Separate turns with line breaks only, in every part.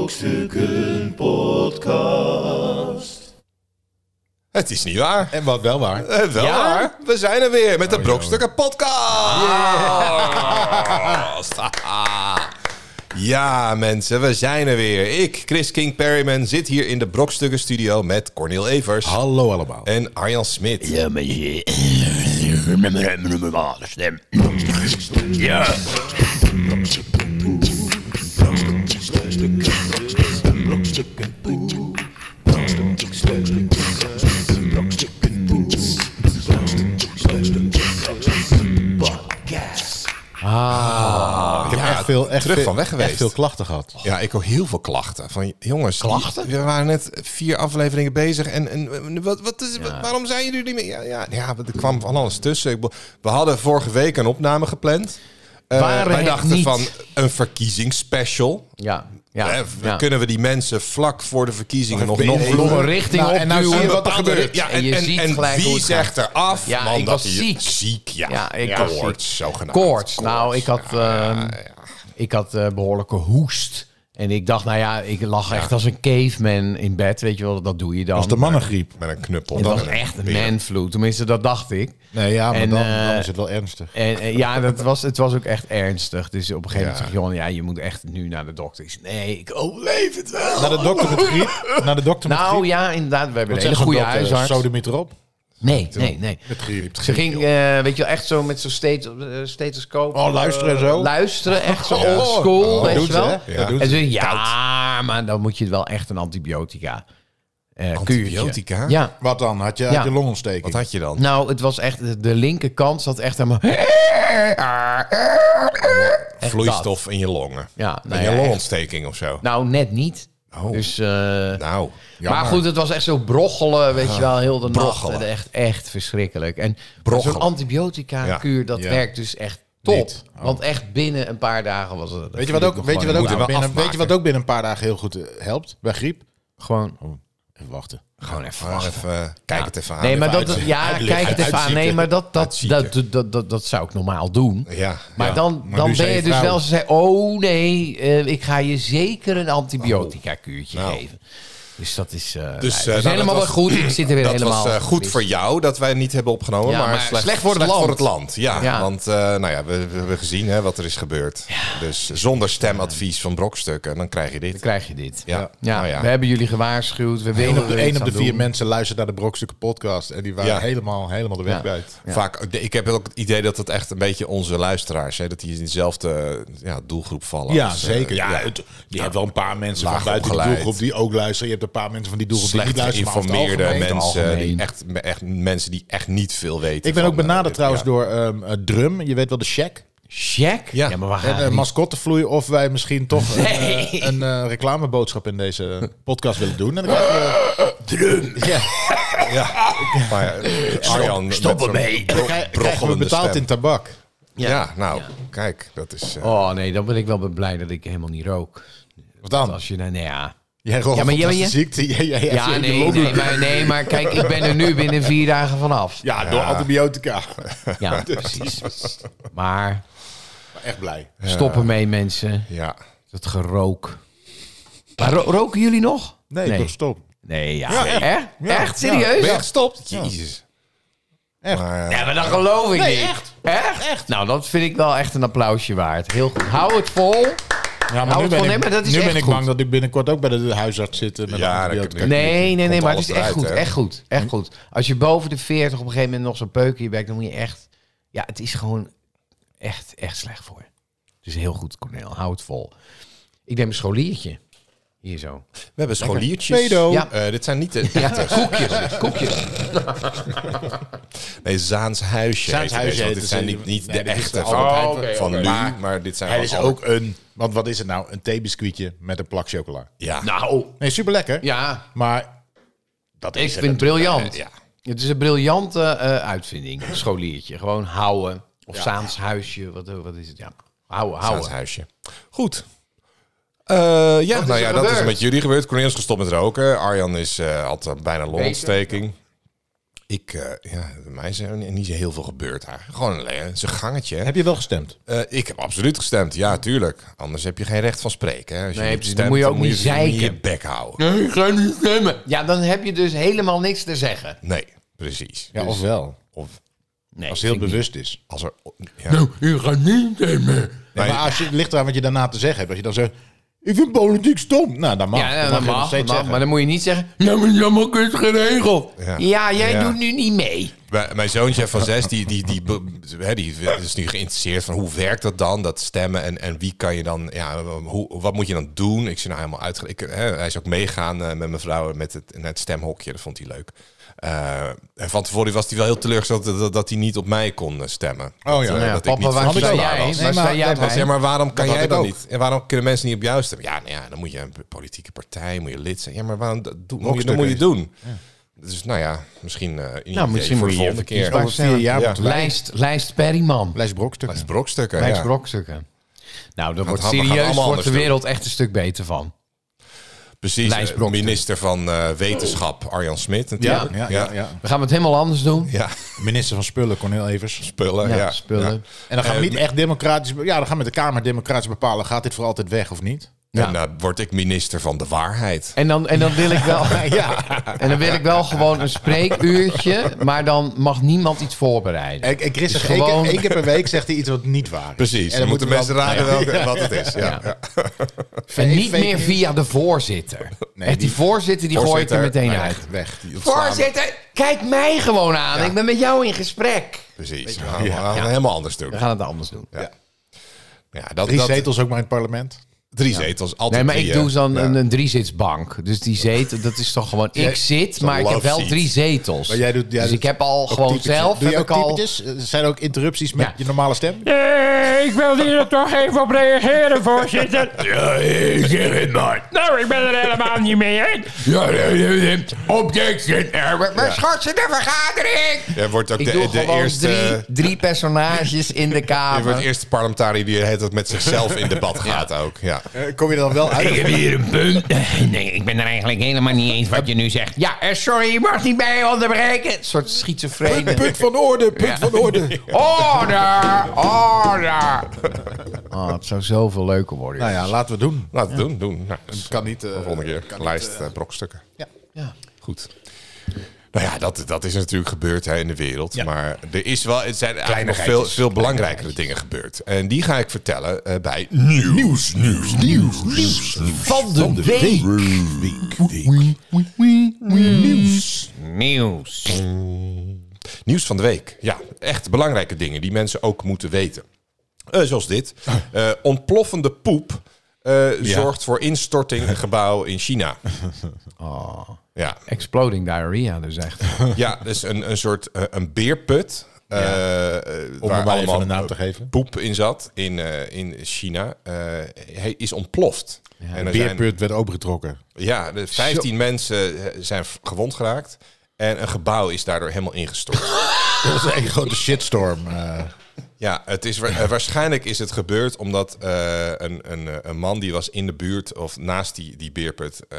Brokstukken Podcast.
Het is niet waar.
En wat wel waar. Oh,
Eh, wel
Ja?
waar. We zijn er weer met de Brokstukken Podcast. Ah. Ja, mensen, we zijn er weer. Ik, Chris King Perryman, zit hier in de Brokstukken Studio met Cornel Evers
Hallo allemaal.
en Arjan Smit.
Ja, maar je...
eh,
Remember, remember, remember, stem. Ja.
ik heb echt veel, echt
terug
veel-
van weg geweest.
echt veel klachten gehad.
Ja, ik hoor heel veel klachten. Van jongens, klachten? We waren net vier afleveringen bezig. En, en wat, wat is, wat- waarom zijn jullie niet meer? Ja, ja, ja, er kwam van alles tussen. Ik bedoel, we hadden vorige week een opname gepland. Eh,
Waren
wij
het
dachten
niet.
van een verkiezingsspecial.
Ja, ja.
Hè,
ja.
Kunnen we die mensen vlak voor de verkiezingen nog, nog,
even-
nog een richting
Nou, en nou
opduwen.
zie je wat er
bepaalde-
gebeurt.
Ja, en,
En je
en-
ziet
en
gelijk hoe
wie
het gaat.
zegt er af?
Ja,
Man,
ik
dat
was
je-
ziek.
Ziek, ja.
Ja, ik was ziek.
koorts, zogenaamd.
Koorts. Nou,
Koorts.
ik had, ehm, ik had eh, behoorlijke hoest. En ik dacht, nou ja, ik lag echt als een caveman in bed. Weet je wel, dat doe je dan.
Als de mannengriep.
Met een knuppel.
Het was
Met een
echt een
beer.
manflu. Tenminste, dat dacht ik.
Nee, ja, maar
En,
dan,
eh,
dan is het wel ernstig.
En, en ja, dat was, het was ook echt ernstig. Dus op een gegeven
Ja.
moment zeg je, ja, je moet echt nu naar de dokter. Ik zei, nee, ik overleef het wel.
Naar de dokter met griep. Naar de dokter met
Nou
griep.
ja, inderdaad. We hebben een hele
Zo'n
goede
dokter,
huisarts.
Sodemiet erop.
Nee, nee, nee.
Met griep.
Ze ging, eh, weet je wel, echt zo met zo'n stet- eh, stethoscoop.
Oh, luisteren en zo.
eh, luisteren, echt zo
Ja.
old school,
Oh,
weet
doet
je
ze,
wel.
hè? Ja,
En
doet
ze zei, ja, maar dan moet je wel echt een antibiotica eh, kuurtje.
Antibiotica?
Ja.
Wat dan? Had je,
Ja.
had je longontsteking?
Wat had je dan?
Nou, het was echt, de linkerkant zat echt helemaal... Echt
vloeistof in je longen.
Ja,
in
nou
je
ja,
longontsteking of zo.
dat. Nou, net niet.
Oh.
Dus, eh,
Nou, jammer.
maar goed, het was echt zo broggelen, weet je wel, heel de
broggelen.
nacht. En Echt, echt verschrikkelijk. En
Broggelen.
zo'n antibiotica-kuur, dat
Ja.
werkt dus echt top.
Niet.
Want echt binnen een paar dagen was het...
Weet je wat ook,
nog
weet je wat
gewoon
moeten
ook,
we
binnen,
afmaken.
weet je wat ook binnen een paar dagen heel goed eh, helpt bij griep?
Gewoon,
Oh, Even wachten.
gewoon even
Maar
wachten.
even, eh, kijk het even aan.
Nee, maar
Even
dat,
uit-
ja,
uitleggen,
kijk het even aan. Nee,
uitzieken.
maar dat, dat, dat,
Uitzieken.
dat, dat, dat, zou ik normaal doen.
Ja,
Maar
ja.
dan,
maar
dan ben
nu zei
je
je
dus
vrouw-
wel, ze zei, oh nee, eh, ik ga je zeker een antibiotica-kuurtje
Oh.
Nou.
geven. Dus dat is, eh, nou,
eh,
het is
nou, dat
helemaal
was-
goed. Ik zit er weer
dat
helemaal...
was eh, goed
in.
voor jou dat wij niet hebben opgenomen,
Ja,
maar,
maar
slecht,
slecht voor het land.
land. Ja,
Ja.
want eh, nou ja, we, we hebben gezien hè, wat er is gebeurd. Dus zonder stemadvies van brokstukken, dan krijg je dit.
Dan krijg je dit.
Ja,
Ja,
Nou ja.
we hebben jullie gewaarschuwd. We
Eén
willen
op de,
er
één
iets
op de
aan
vier
doen.
mensen luistert naar de Brokstukken podcast. En die waren
Ja.
helemaal, helemaal de weg
Ja.
kwijt.
Vaak, ik heb ook het idee dat het echt een beetje onze luisteraars, hè, dat die in dezelfde ja, doelgroep vallen.
Ja,
Dus, eh,
zeker.
ja,
ja, het- je hebt wel een paar mensen
Laag
van buiten die
opgeleid.
doelgroep die ook luisteren. Je hebt een paar mensen van die doelgroep die
slecht
niet luisteren. maar over het
geïnformeerde
algemeen-
mensen, die
algemeen.
echt, echt, mensen die echt niet veel weten.
Ik ben
van,
ook
eh,
benaderd
dit.
trouwens
Ja.
door ehm, eh, Drum. Je weet wel, de Shack.
Check?
Ja.
Ja, maar we
En
gaan
eh,
niet-
mascottevloei of wij misschien toch een,
Nee.
eh, een eh, reclameboodschap in deze podcast willen doen. En dan krijgen we- Ja,
Ja, maar eh, Arjan...
stop
met zo'n
ermee.
bro-
krijgen we
brochelende
betaald
stem.
in tabak.
Ja, nou, kijk, dat is... eh,
Oh nee, dan ben ik wel blij dat ik helemaal niet rook.
Wat dan?
Als je nou, nee, ja.
Jij rookt
Ja, maar
van
je-
vaste
je-
ziekte. Jij- jij- jij-
Ja,
jij-
nee,
je-
nee, maar, nee, maar kijk, ik ben er nu binnen vier dagen vanaf.
Ja, door antibiotica.
Ja, precies. Maar
Echt blij.
stop ermee, mensen.
ja.
Dat gerook. Maar ro- roken jullie nog?
Nee,
nee.
toch stop.
Nee, ja.
Ja, echt.
echt?
Ja.
Echt? Serieus?
Ben je gestopt? Jezus.
Echt.
Maar, eh,
Ja, maar dat geloof ik
Nee,
niet.
echt.
Echt? Nou, dat vind ik wel echt een applausje waard. Heel goed. Hou het vol.
Ja,
Nou, het van- nee, maar dat is
nu
echt
ben ik
goed.
bang dat ik binnenkort ook bij de huisarts zit. eh, Met
Ja, dat
antibiotica.
kan-
Nee, nee, nee,
komt
maar het
alles
is echt
eruit,
goed.
hè?
Echt goed. Echt goed. Als je boven de 40 op een gegeven moment nog zo'n peuk in je bek, dan moet je echt. Ja, het is gewoon echt, echt slecht voor. je. Dus heel goed, Cornel. Hou het vol. Ik neem een scholiertje. Hier zo.
we hebben scholiertjes.
Pedo.
Ja.
Eh, dit zijn niet de
Ja, koekjes. koekjes.
nee, Zaans huisje.
Zaans
heet het
Huisje
deze, want
heet
dit
het,
zijn
eh,
niet, niet
nee,
de
dit is de
echte van,
Albert
Heijn. Oh, oké,
van
oké.
nu,
Maar
maar dit zijn
Hij
wel
is
Albert-
ook een, want wat is het nou? Een theebiscuitje met een plak chocola.
Ja.
Nou,
Nee, super lekker.
ja.
Maar dat
Ik
is
vind het briljant.
ja.
Het is een briljante eh, uitvinding. Een scholiertje. Gewoon houden. Of Saans huisje. Wat, wat is het? Ja. Houden,
Zaans
houden.
huisje. Goed. Eh, ja,
is
nou
er
ja, dat is
gebeurd?
met jullie gebeurd. Cornel is gestopt met roken. Arjan is, eh, had eh, bijna longontsteking. Ik, eh, ja, bij mij is er ni- niet zo heel veel gebeurd daar. Gewoon een, le- zijn gangetje. hè.
Heb je wel gestemd?
Eh, ik heb absoluut gestemd, ja, tuurlijk. Anders heb je geen recht van spreken. Hè. Als
Nee,
je niet
precies.
stemt,
Dan moet je ook niet zeiken.
je bek houden.
Nee, ik ga niet stemmen. Ja, dan heb je dus helemaal niks te zeggen.
Nee, precies.
Ja,
Dus-
of wel.
of
Nee,
Als het heel
vind ik
bewust is.
als er... Ja.
niet. Ik ga niet stemmen.
Nee, maar als je, het ligt eraan wat je daarna te zeggen hebt. Als je dan zegt, ik vind politiek stom. Nou, dan mag.
Ja, nou,
dan
dat
mag, je nog
mag,
steeds
dat mag,
zeggen.
maar dan moet je niet zeggen... Nou, maar jammer, ik is geregeld. Ja,
Ja.
jij
Ja.
doet nu niet mee.
Mijn mijn zoontje van zes, die, die, die, be- hè, die is nu geïnteresseerd van hoe werkt dat dan, dat stemmen en, en wie kan je dan, ja, hoe, wat moet je dan doen? Ik zie nou helemaal uit. Ik, hè, hij is ook meegaan eh, met mijn vrouw met het, naar het stemhokje, dat vond hij leuk. Eh, en van tevoren was hij wel heel teleurgesteld dat, dat, dat hij niet op mij kon eh, stemmen.
Oh ja,
dat, eh,
ja,
dat ik
papa,
niet
waar
verkiesbaar
sta
was.
jij?
Nee,
Nee, maar-
sta jij
nee,
maar
bij?
zeg maar, waarom kan
had
jij
ik
dan
ook.
niet? En waarom kunnen mensen niet op jou stemmen? Ja, nou ja, dan moet je een politieke partij, moet je lid zijn. Ja, maar waarom dat doe, moet je, dat moet je doen? Dus nou ja, misschien eh in
Nou, misschien
voor
moet
de
je
volgende
even
keer.
kiezen.
Over vier jaar
Ja.
moeten wij-
Lijst, lijst Perryman.
Lijst Brokstukken.
Dat is brokstukken.
Lijst
ja.
brokstukken. Nou, dat wordt
gaan we
serieus,
allemaal
wordt de
anders doen.
wereld echt een stuk beter van.
Precies.
Lijst
eh,
brokstukken.
minister van eh, Wetenschap, Arjan Smit.
Ja,
Natuurlijk.
ja, ja, ja.
We gaan het helemaal anders doen.
Ja,
Minister van Spullen, Cornel Evers.
spullen.
Ja,
Ja,
spullen.
ja.
En dan gaan we
Eh,
niet echt democratisch... be- Ja, dan gaan we met de Kamer democratisch bepalen... gaat dit voor altijd weg of niet?
En eh, word ik minister van de waarheid.
En dan, en dan wil ik wel... En dan wil ik wel gewoon een spreekuurtje, maar dan mag niemand iets voorbereiden.
Ik, ik, Chris
Dus
zegt één keer-
gewoon-
één keer per week zegt hij iets wat niet waar is.
Precies.
En
dan moeten
moeten
mensen
we
raden
wel-
welke, wat het is. Ja.
Ja.
Ja.
En niet
fake
meer
news.
via de voorzitter.
Nee,
Echt, die,
die-
voorzitter die gooi ik er
Voorzitter,
meteen
nee,
uit.
Weg.
Die ontslaan we.
Voorzitter, kijk mij gewoon aan. Ik ben met jou in gesprek.
Precies. We gaan, we gaan helemaal anders doen.
We
Ja.
gaan het anders doen.
dat,
Drie
dat-
zetels ook maar in het parlement.
Drie zetels.
Nee,
Altijd
maar ik
drie, hè.
doe dan
Ja.
een, een driezitsbank. Dus die zetel, dat is toch gewoon... Ik zit, maar ik heb
love
wel
seat.
drie zetels.
Maar jij doet- jij
dus
doet
ik heb al
Ook
gewoon
typetjes.
zelf...
Doe je
heb
ook
ik al,
typetjes? Eh, Zijn er ook interrupties met
Ja.
je normale stem?
Eh, ik wil hier toch even op reageren, voorzitter.
Ja, ik zeg het maar.
Nou, ik ben er helemaal niet mee eens.
Ja, nee, nee, nee. Objection. Eh, maar- maar-
de vergadering!
Jij wordt ook
Ik
de,
doe
de
gewoon
eerste...
drie, drie personages in de
Je wordt
kamer.
de eerste parlementariër die het dat met zichzelf in debat gaat ook. Ja.
Eh, Kom je er dan wel
Ik
uit?
heb hier een punt.
Eh, Nee, ik ben er eigenlijk helemaal niet eens wat je nu zegt.
Ja, eh, sorry, je mag niet mij onderbreken. Een soort schizofrene.
Punt van orde, punt van orde.
Order! Order! Oh, het zou zoveel leuker worden.
Nou ja, laten we doen.
Laten we doen. doen. Nou, dus
Kan niet. eh,
volgende keer.
kan
Lijst
niet,
eh, brokstukken.
eh,
Ja.
Goed. Nou ja, dat, dat is natuurlijk gebeurd hè, in de wereld. Maar er is wel, het zijn eigenlijk nog veel,
Kleinigheidjes.
veel belangrijkere dingen gebeurd. En die ga ik vertellen eh, bij nieuws, nieuws, nieuws, nieuws,
Van de, week.
Nieuws.
Nieuws van de week. Ja, echt belangrijke dingen die mensen ook moeten weten. Eh, zoals dit.
Ah.
Eh, ontploffende poep eh, zorgt voor instorting in een gebouw in China. Ja,
Exploding diarrhea, dus echt.
ja dus een, een soort eh, een beerput. eh, eh,
Om er
waar
maar even
allemaal
een naam te geven.
poep in zat in, eh, in China, eh, hij is ontploft. en er zijn,
Beerput werd opengetrokken.
ja, de 15 mensen eh, zijn v- gewond geraakt. En een gebouw is daardoor helemaal ingestort.
Dat was een grote shitstorm. eh.
ja, het is, wa- eh, waarschijnlijk is het gebeurd omdat eh, een, een, eh, een man die was in de buurt of naast die, die beerput eh,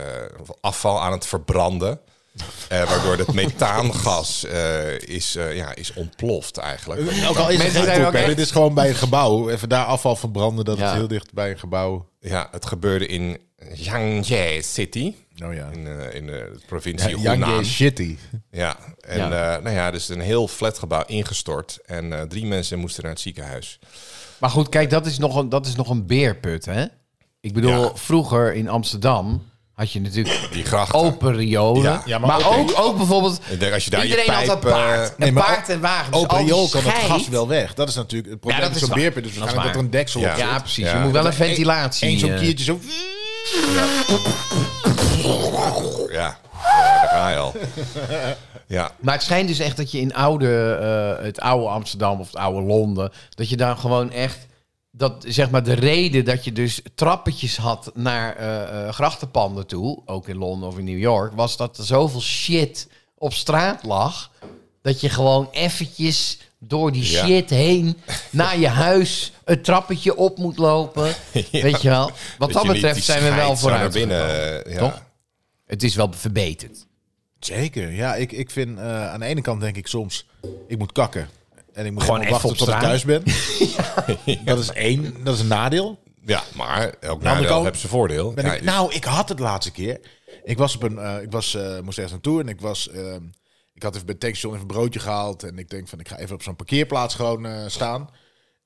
afval aan het verbranden. Eh, waardoor het methaangas eh, is, eh, ja, is ontploft eigenlijk.
Ook al is het
Mensen
geen
zijn ook
poep, hè.
echt-
Dit is gewoon bij een gebouw. Even daar afval verbranden. Dat
Ja.
het heel dicht bij een gebouw.
Ja, het gebeurde in Yangtze City.
Nou
Mm.
ja.
In, eh, in eh, de provincie
Ja,
Hunan.
Yang shitty.
Ja, en
Ja.
eh, nou ja, dus een heel flatgebouw ingestort. En eh, drie mensen moesten naar het ziekenhuis.
Maar goed, kijk, dat is nog een, dat is nog een beerput, hè? Ik bedoel,
Ja.
vroeger in Amsterdam had je natuurlijk
Die grachten.
open riolen.
Ja,
ja,
maar
maar
ook, ook bijvoorbeeld,
Ik denk, als je daar je
iedereen had een
pijp, eh,
paard.
nee,
een
maar
paard
ook-
en wagen. Dus
Open
al die
riool kan het
scheid-
gas wel weg. Dat is natuurlijk het probleem
Ja, dat
met
is
zo'n
waar.
beerput.
Dat
Dus
is
waarschijnlijk dat er een deksel
Ja.
op zit.
Ja, precies.
Ja,
je moet wel een
Eén-
ventilatie...
Eén zo'n
eh,
kiertje zo.
Ja, ja, daar ga je al. Ja,
Maar het schijnt dus echt dat je in oude, eh, het oude Amsterdam of het oude Londen, dat je daar gewoon echt, dat zeg maar de reden dat je dus trappetjes had naar eh, eh, grachtenpanden toe, ook in Londen of in New York, was dat er zoveel shit op straat lag, dat je gewoon eventjes door die
Ja.
shit heen naar je huis het trappetje op moet lopen. Weet je wel? Wat dat,
je niet
betreft
die
zijn we wel
scheids zo
vooruit.
naar binnen.
gekomen.
eh, ja.
Toch? Het is wel verbeterd.
Zeker. Ja, ik, ik vind eh, aan de ene kant denk ik soms, ik moet kakken. En ik moet
Gewoon
gewoon
even
wachten
op
tot ik
straat.
thuis ben. Dat is één, dat is een nadeel.
Ja, maar elk
maar
nadeel
kan-
heeft zijn voordeel.
Nou, Ben
Ja,
dus-
ik, nou, ik had het laatste keer. Ik was op een, eh, ik was, eh, moest ergens naartoe en ik was, ehm, ik had even bij het tankstation even een broodje gehaald en ik denk van, ik ga even op zo'n parkeerplaats gewoon eh, staan.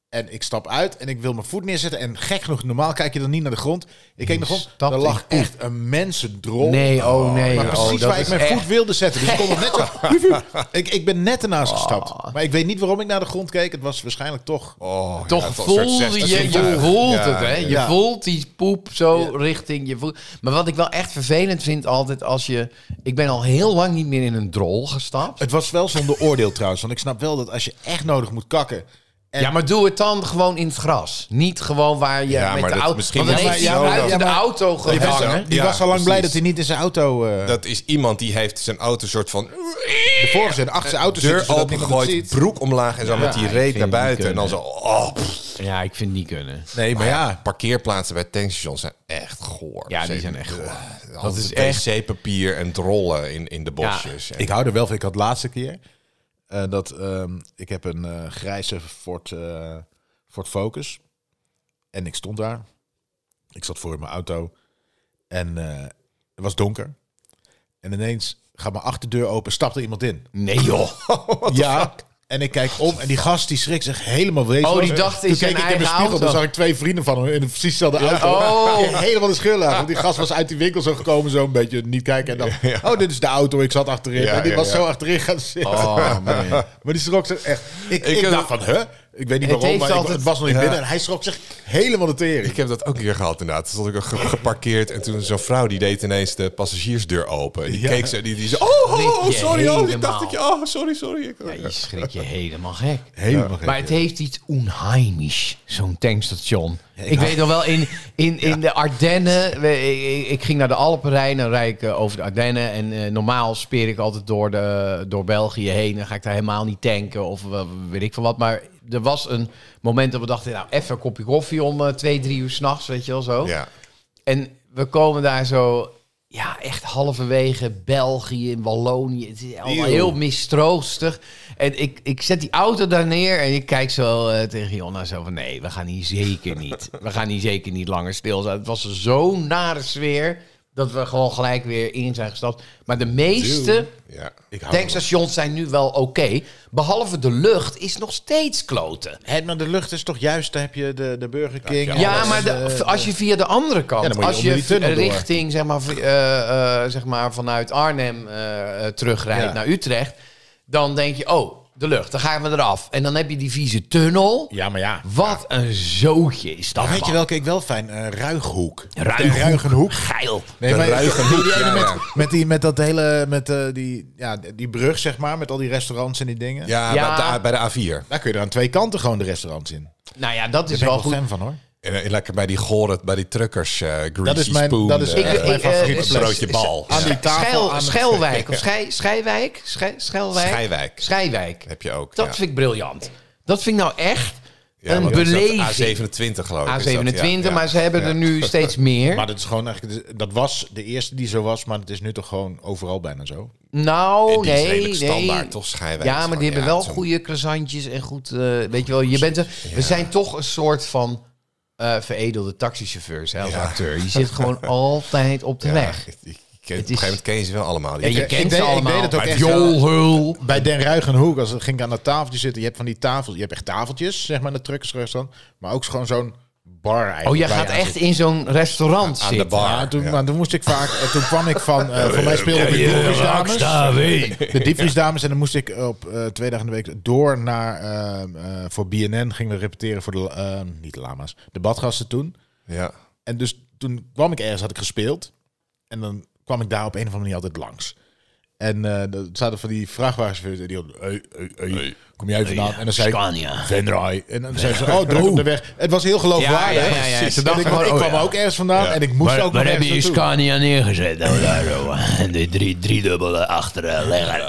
En ik stap uit en ik wil mijn voet neerzetten en gek genoeg, normaal kijk je dan niet naar de grond. Ik keek naar de grond,
stapt
er lag
in.
echt een mensendrol.
Nee, oh nee.
Maar
oh,
precies
dat
waar ik
is
mijn
echt-
voet wilde zetten. Dus ik kon nog net zo... ik, ik ben net ernaast
Oh.
gestapt. Maar ik weet niet waarom ik naar de grond keek. Het was waarschijnlijk toch...
Oh, ja,
Toch
het was een soort
voelde
zesde
je, je
zintuig.
voelt
Ja,
het, hè? Je
ja.
voelt die poep zo richting je voet. Maar wat ik wel echt vervelend vind altijd als je... Ik ben al heel lang niet meer in een drol gestapt.
Het was wel zonder oordeel trouwens. Want ik snap wel dat als je echt nodig moet kakken... En
Ja, maar doe het dan gewoon in het gras. Niet gewoon waar je
Ja,
met
maar
de
dat-
auto...
misschien
Want dan
was
heeft
hij
hij
zo
buiten
dan.
de
Ja, maar-
auto
Die was,
gehangen.
die
Ja,
was al lang
precies.
blij dat hij niet in zijn auto... eh
Dat is iemand die heeft zijn auto soort van...
de vorige zijn achter zijn auto zitten,
Deur
zodat niemand het
opengegooid,
ziet.
broek omlaag en zo met die
ik
reet
vind
naar
het
buiten.
niet
En dan zo... Oh, pff.
Ja, ik vind het niet kunnen.
Nee, maar ja.
Parkeerplaatsen bij tankstations zijn echt goor.
Ja, die
Ze-
zijn echt goor.
eh,
Dat
altijd
is echt-
wc-papier en drollen in, in de bosjes. En-
Ik hou er wel van. Ik had de laatste keer eh, dat ehm, ik heb een eh, grijze Ford, eh, Ford Focus. En ik stond daar. Ik zat voor in mijn auto. En eh, het was donker. En ineens gaat mijn achterdeur open, stapt er iemand in.
Nee, joh.
ja. En ik kijk om en die gast die schrikt zich helemaal wezen.
Oh, die dacht,
Toen
is zijn
keek ik in mijn
eigen
spiegel,
auto.
dan zag ik twee vrienden van hem in een precies dezelfde auto.
Oh.
Die Helemaal de scheur lagen. Want die gast was uit die winkel zo gekomen, zo een beetje niet kijken. En dan, oh, dit is de auto, ik zat achterin.
Ja,
en die
ja,
was
ja.
zo achterin gaan zitten.
Oh, man. eh,
Maar die schrok zich echt. Ik, ik,
heb
dacht
dat-
van, huh? Ik weet niet
Het
waarom,
heeft
maar ik-
altijd-
het was nog niet
Ja.
binnen. En hij schrok zich helemaal de tering.
Ik heb dat ook een keer gehad inderdaad. Toen stond ik ge- geparkeerd en toen zo'n vrouw die deed ineens de passagiersdeur open. En die
Ja.
keek ze die, die zei, oh, oh,
Schrik je
sorry, oh, ik dacht
helemaal.
dat je, oh, sorry, sorry. Ik-
Ja, je schrik je helemaal gek.
Helemaal gek,
Maar het heeft iets onheimisch, zo'n tankstation. ik weet nog wel, in, in, in de Ardennen... we- ik, ik- ik ging naar de Alpenrijn, dan rijd ik eh, over de Ardennen. En eh, normaal speer ik altijd door, de, door België heen. Dan ga ik daar helemaal niet tanken of eh, weet ik veel wat. Maar er was een moment dat we dachten... nou, even een kopje koffie om eh, twee, drie uur s'nachts, weet je wel zo.
Ja.
En we komen daar zo, ja, echt halverwege België, in Wallonië. Het is allemaal
Eeuw.
heel mistroostig. En ik, ik zet die auto daar neer en ik kijk zo eh, tegen Jonna zo van... Nee, we gaan hier zeker niet. We gaan hier zeker niet langer stilstaan. Het was zo'n nare sfeer dat we gewoon gelijk weer in zijn gestapt. Maar de meeste
Ja, ik hou
tankstations zijn nu wel oké. Behalve de lucht is nog steeds kloten.
Hé, maar de lucht is toch juist, daar heb je de, de Burger King. en
Ja,
alles.
maar de-
Eh,
als je via de andere
Ja,
kant,
dan moet je
als
onder
je
die tunnel door.
richting zeg maar, v- eh, eh, zeg maar vanuit Arnhem eh, eh, terugrijdt
Ja.
naar Utrecht, dan denk je, oh, de lucht, dan gaan we eraf. En dan heb je die vieze tunnel.
Ja, maar ja.
Wat een zootje is dat.
Maar weet je
man.
welke ik wel fijn? Eh Ruighoek.
Ruighoek.
De Ruigenhoek.
Geil.
Nee, maar
Ruigenhoek,
die ene
ja,
met,
ja.
met, die, met dat hele, met eh, die, ja, die brug zeg maar, met al die restaurants en die dingen.
Ja,
Ja.
Bij, de, bij de A4.
Daar kun je er aan twee kanten gewoon de restaurants in. Daar
Nou ja, dat
ben
is
ik wel
wel goed.
fan van hoor.
En, en lekker bij die gore, bij die truckers, eh greasy
Dat is mijn,
spoon.
dat is
eh,
echt
ik-
mijn
eh,
favoriete
eh,
plek.
broodje bal.
Aan die tafel.
Schel-
aan het-
Schelwijk of Schij, Schijwijk? Schij, Schelwijk?
Schijwijk.
Schijwijk.
Heb je ook,
Dat
ja.
vind ik briljant. Dat vind ik nou echt
Ja,
een
wat is dat?
beleving.
A27 geloof ik. is dat,
A27,
ja,
maar ze hebben
ja.
er nu steeds meer.
Maar dat is gewoon eigenlijk, dat was de eerste die zo was, maar het is nu toch gewoon overal bijna zo.
Nou,
En die is
nee,
redelijk
nee.
standaard, toch? Schijnwijs
Ja, maar
gewoon,
die hebben
ja,
wel
zo'n-
goede croissantjes en goed... eh, weet je wel, je bent er, we zijn toch een soort van eh, veredelde taxichauffeurs hè, als
Ja.
acteur. Je zit gewoon altijd op de
Ja,
weg.
ik- ik- ik- op
is-
een gegeven moment ken je ze wel allemaal. Die
En je
ik
kent
deed-
ze
ik deed
allemaal.
het ook
Maar
echt
Jolhul.
Bij Den Ruigenhoek, als het ging ik aan dat tafeltje zitten, je hebt van die tafels, je hebt echt tafeltjes, zeg maar, in de truckersrestaurant, maar ook gewoon zo'n bar eigenlijk.
Oh, jij
waar
gaat
je aan
echt
zit.
in zo'n restaurant
aan de
zitten.
bar.
Ja, toen,
Ja.
maar toen moest ik vaak, eh, toen kwam ik van, eh, voor mij speelde ik de diepvriesdames, de diepvriesdames, en dan moest ik op eh, twee dagen in de week door naar, ehm, eh, voor BNN gingen we repeteren voor de, ehm, niet de lama's, de badgasten toen.
Ja.
En dus toen kwam ik ergens, had ik gespeeld. En dan kwam ik daar op een of andere manier altijd langs. En eh er zaten van die vrachtwagenchauffeurs die hadden... Hey, hey, hey, kom jij vandaan? en dan zei ik...
Scania.
Venray. En dan zei ze... Oh, druk op de weg. Het was heel geloofwaardig.
Ja, ja, ja, ja.
Precies.
Ze dachten
En ik,
gewoon,
ik
oh,
kwam
ja.
ook ergens vandaan en ik moest
Waar,
ook nog
waar heb
ergens
je je
naartoe.
Scania neergezet? Nou, daar, oh, en die drie, driedubbele achteren legger.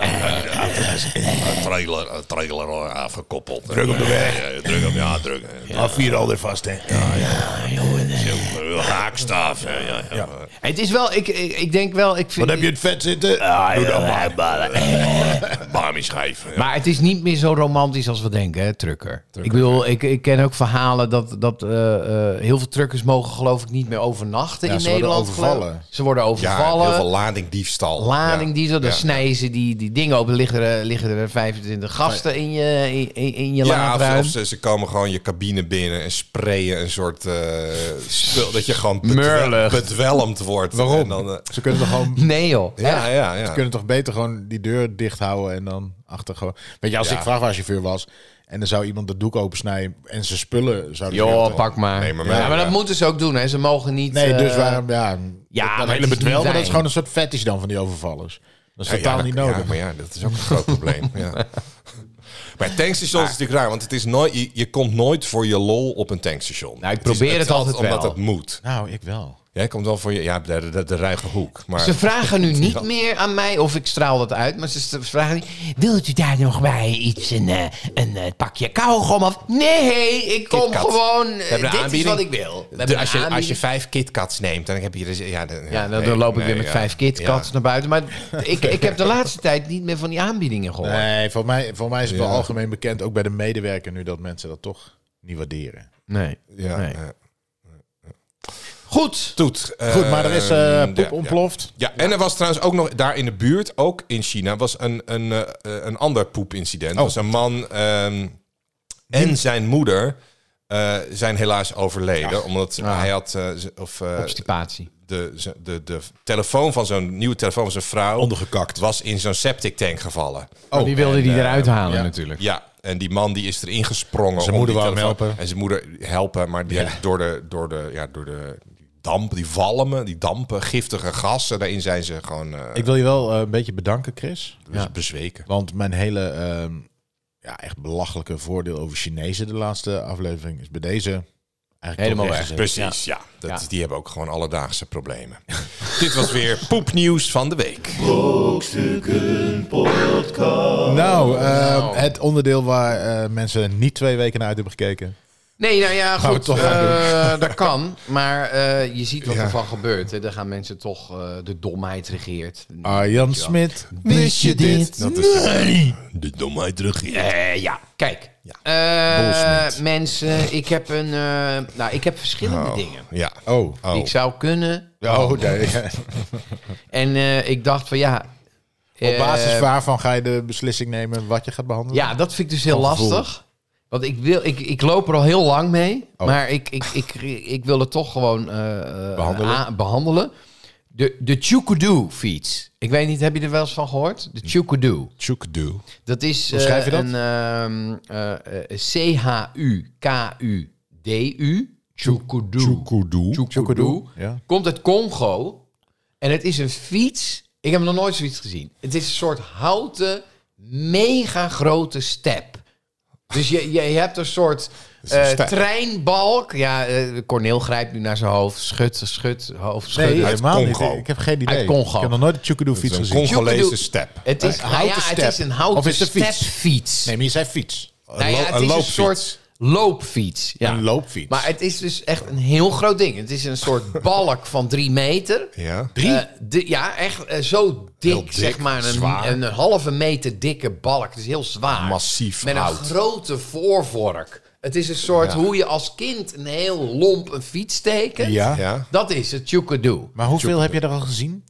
Een trailer, een trailer hoor, afgekoppeld. Druk hem weg. Druk hem, ja, druk.
Ah, vier alweer vast, hè. Ja,
eh,
Zo, eh, Haakstaaf. Ja, ja, ja.
Het is wel, ik, ik, ik denk wel... Ik vind,
Wat heb je het vet zitten?
Ah,
Doe
ja,
Barmy schijven.
Maar het is niet meer zo romantisch als we denken, hè, trucker. ik bedoel, ik, ik ken ook verhalen dat, dat eh, eh, heel veel truckers mogen geloof ik niet meer overnachten
Ja,
in
ze worden
Nederland. geloof-
overvallen.
Ze worden
Ja,
overvallen.
heel veel ladingdiefstal.
Lading
Ja.
die zo, dan
Ja.
snijden ze die, die dingen open. Liggen er, liggen er 25 gasten in je, in, in- in je
Ja, of,
laadruim.
of ze, ze komen gewoon je cabine binnen en sprayen een soort eh, spul dat je gewoon bedwe-
Murlig.
bedwelmd wordt.
Waarom?
En dan, eh,
Ze kunnen toch gewoon...
Nee joh.
ja, ja,
Ze
ja.
kunnen toch beter gewoon die deur dicht houden en dan achter gewoon... Weet je, als
Ja.
ik vrachtwagenchauffeur was en dan zou iemand de doek opensnijden en zijn spullen zouden... ze
Joh,
weer-
pak maar.
Nee, maar
ja,
mij,
maar
ja.
dat moeten ze ook doen. Hè. Ze mogen niet...
Nee, dus
eh,
waarom... Ja,
ja,
dat
maar het
hele
is niet
bedwelmen, dat
fijn.
is gewoon een soort fetish dan van die overvallers. Dat is
Ja,
totaal
ja,
niet
dat-
nodig.
ja, maar ja, dat is ook een groot probleem. Ja. Maar tankstations is natuurlijk raar, want het is nooit, je, je komt nooit voor je lol op een tankstation.
Nou, ik
is-
probeer
is
het altijd
omdat
wel.
het moet.
Nou, ik wel.
Jij komt wel voor je, ja, de, de, de ruige hoek. Maar
Ze vragen nu niet meer aan mij of ik straal dat uit, maar ze st- vragen niet, wilt u daar nog bij iets, een, eh, een eh, pakje kauwgom of... Nee, ik kom
KitKat.
gewoon, eh,
We
dit
hebben een
is
aanbieding.
wat ik wil.
de-
We hebben
als,
een
je, als je
aanbieding.
vijf KitKats neemt, dan heb je dus, ja, dan,
Ja, dan,
nee,
dan loop ik
nee,
weer met
ja.
vijf KitKats
Ja.
naar buiten, maar ik, ik heb de laatste tijd niet meer van die aanbiedingen gehoord.
Nee, voor mij, voor mij is het wel
Ja.
algemeen bekend, ook bij de medewerker nu, dat mensen dat toch niet waarderen.
Nee.
Ja,
Nee.
eh,
Goed.
Toet.
Goed, maar er is eh,
ehm,
poep
ja, ja.
ontploft.
Ja, en er was trouwens ook nog daar in de buurt, ook in China, was een, een, eh, eh, een ander poepincident.
Oh.
Er was een man ehm, en zijn moeder eh, zijn helaas overleden. Omdat
Ah.
hij had eh, z- of, eh,
Obstipatie.
de, z- de, de telefoon van zo'n nieuwe telefoon van zijn vrouw ondergekakt. Was in zo'n septic tank gevallen.
Oh, die wilde die
eh,
eruit halen
ja.
natuurlijk.
Ja, en die man die is erin gesprongen.
Zijn
om
moeder
die
wou hem
telefoon-
helpen.
En zijn moeder helpen, maar die heeft door de, door de, ja, door de damp, die valmen, die dampen, giftige gassen, daarin zijn ze gewoon eh,
Ik wil je wel eh, een beetje bedanken, Chris.
dus bezweken.
Want mijn hele ehm, ja, echt belachelijke voordeel over Chinezen de laatste aflevering is bij deze eigenlijk
Helemaal
toch
weg.
rechtgezet.
Precies, ja. Dat,
Ja.
is- Die hebben ook gewoon alledaagse problemen. Dit was weer poepnieuws van de week.
Oh,
Nou, ehm, het onderdeel waar eh, mensen niet twee weken naar uit hebben gekeken.
Nee, nou ja,
Gaan we
goed.
toch
eh,
aan
dat kan. Maar eh, je ziet wat er ervan gebeurt. Hè. Dan gaan mensen toch eh, de domheid regeert.
Arjan Smit,
Wist je dit?
Dat is de, de domheid regeert.
Eh, ja, kijk.
Bol
Eh
Smit.
mensen, ik heb een. eh, nou, ik heb verschillende dingen.
Ja.
Oh,
Die
Oh.
ik zou kunnen.
oh nee.
En eh, ik dacht van ja.
Op
eh,
basis waarvan ga je de beslissing nemen wat je gaat behandelen?
Ja, dat vind ik dus heel
Van gevoel.
lastig. Want ik, wil, ik, ik loop er al heel lang mee.
Oh.
Maar ik, ik, ik, ik wil het toch gewoon eh, eh,
Behandelen.
a- behandelen. De, de Chukudu fiets. Ik weet niet, heb je er wel eens van gehoord? De Chukudu.
Chukdu.
Dat is
Hoe schrijf je
eh,
dat?
een ehm, eh, eh, C-H-U-K-U-D-U. Chukudu.
Chukudu.
Chukudu.
Ja.
Komt uit Congo. En het is een fiets. Ik heb nog nooit zoiets gezien. Het is een soort houten, mega grote step. Dus je, je, je hebt een soort
een
eh,
step.
treinbalk. Ja, eh, Corneel grijpt nu naar zijn hoofd. Schud, schud, hoofd, schud.
Nee,
Uit
helemaal niet.
Congo.
Ik heb geen idee.
Uit Congo.
Ik heb nog nooit de Chukudu fiets
Een
gezien.
Congolese step.
het, is,
een
nou
houten
ja, het
step.
is een houten
Of is het een fiets?
stepfiets.
Nee, maar je zei fiets.
Nou ja,
lo-
het
een
is een
loopfiets.
soort loopfiets. Ja.
Een loopfiets.
Maar het is dus echt een heel groot ding. Het is een soort balk van drie meter.
Ja.
Drie? ja, echt eh, zo dik,
dik,
zeg maar. Een,
zwaar.
een halve meter dikke balk. Het is heel zwaar.
Massief
Met
hout.
een grote voorvork. Het is een soort hoe je als kind een heel lomp een fiets tekent.
Ja.
Ja.
Dat is het Chukadoo.
Maar hoeveel heb je er al gezien?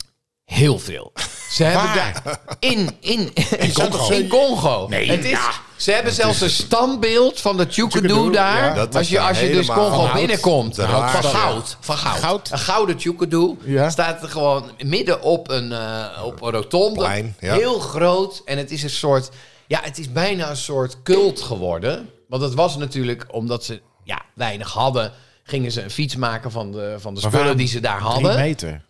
Heel veel. Ze hebben daar in, in, in
Congo.
In Congo. het is, Ze hebben zelfs een standbeeld van de Chukadoo
Tjoekedoe,
daar.
ja.
Dat
als
is
je, als je dus
helemaal
Congo
van hout.
binnenkomt.
De
Van goud,
raarsel.
van goud. Van goud.
Goud.
Een gouden Chukadoo
Ja.
staat er gewoon midden op een, eh, op een rotonde.
Plein, ja.
Heel groot. En het is een soort... Ja, het is bijna een soort cult geworden. Want het was natuurlijk omdat ze ja, weinig hadden... gingen ze een fiets maken van de, van de spullen
waarom
die ze daar
Drie
hadden.
meter.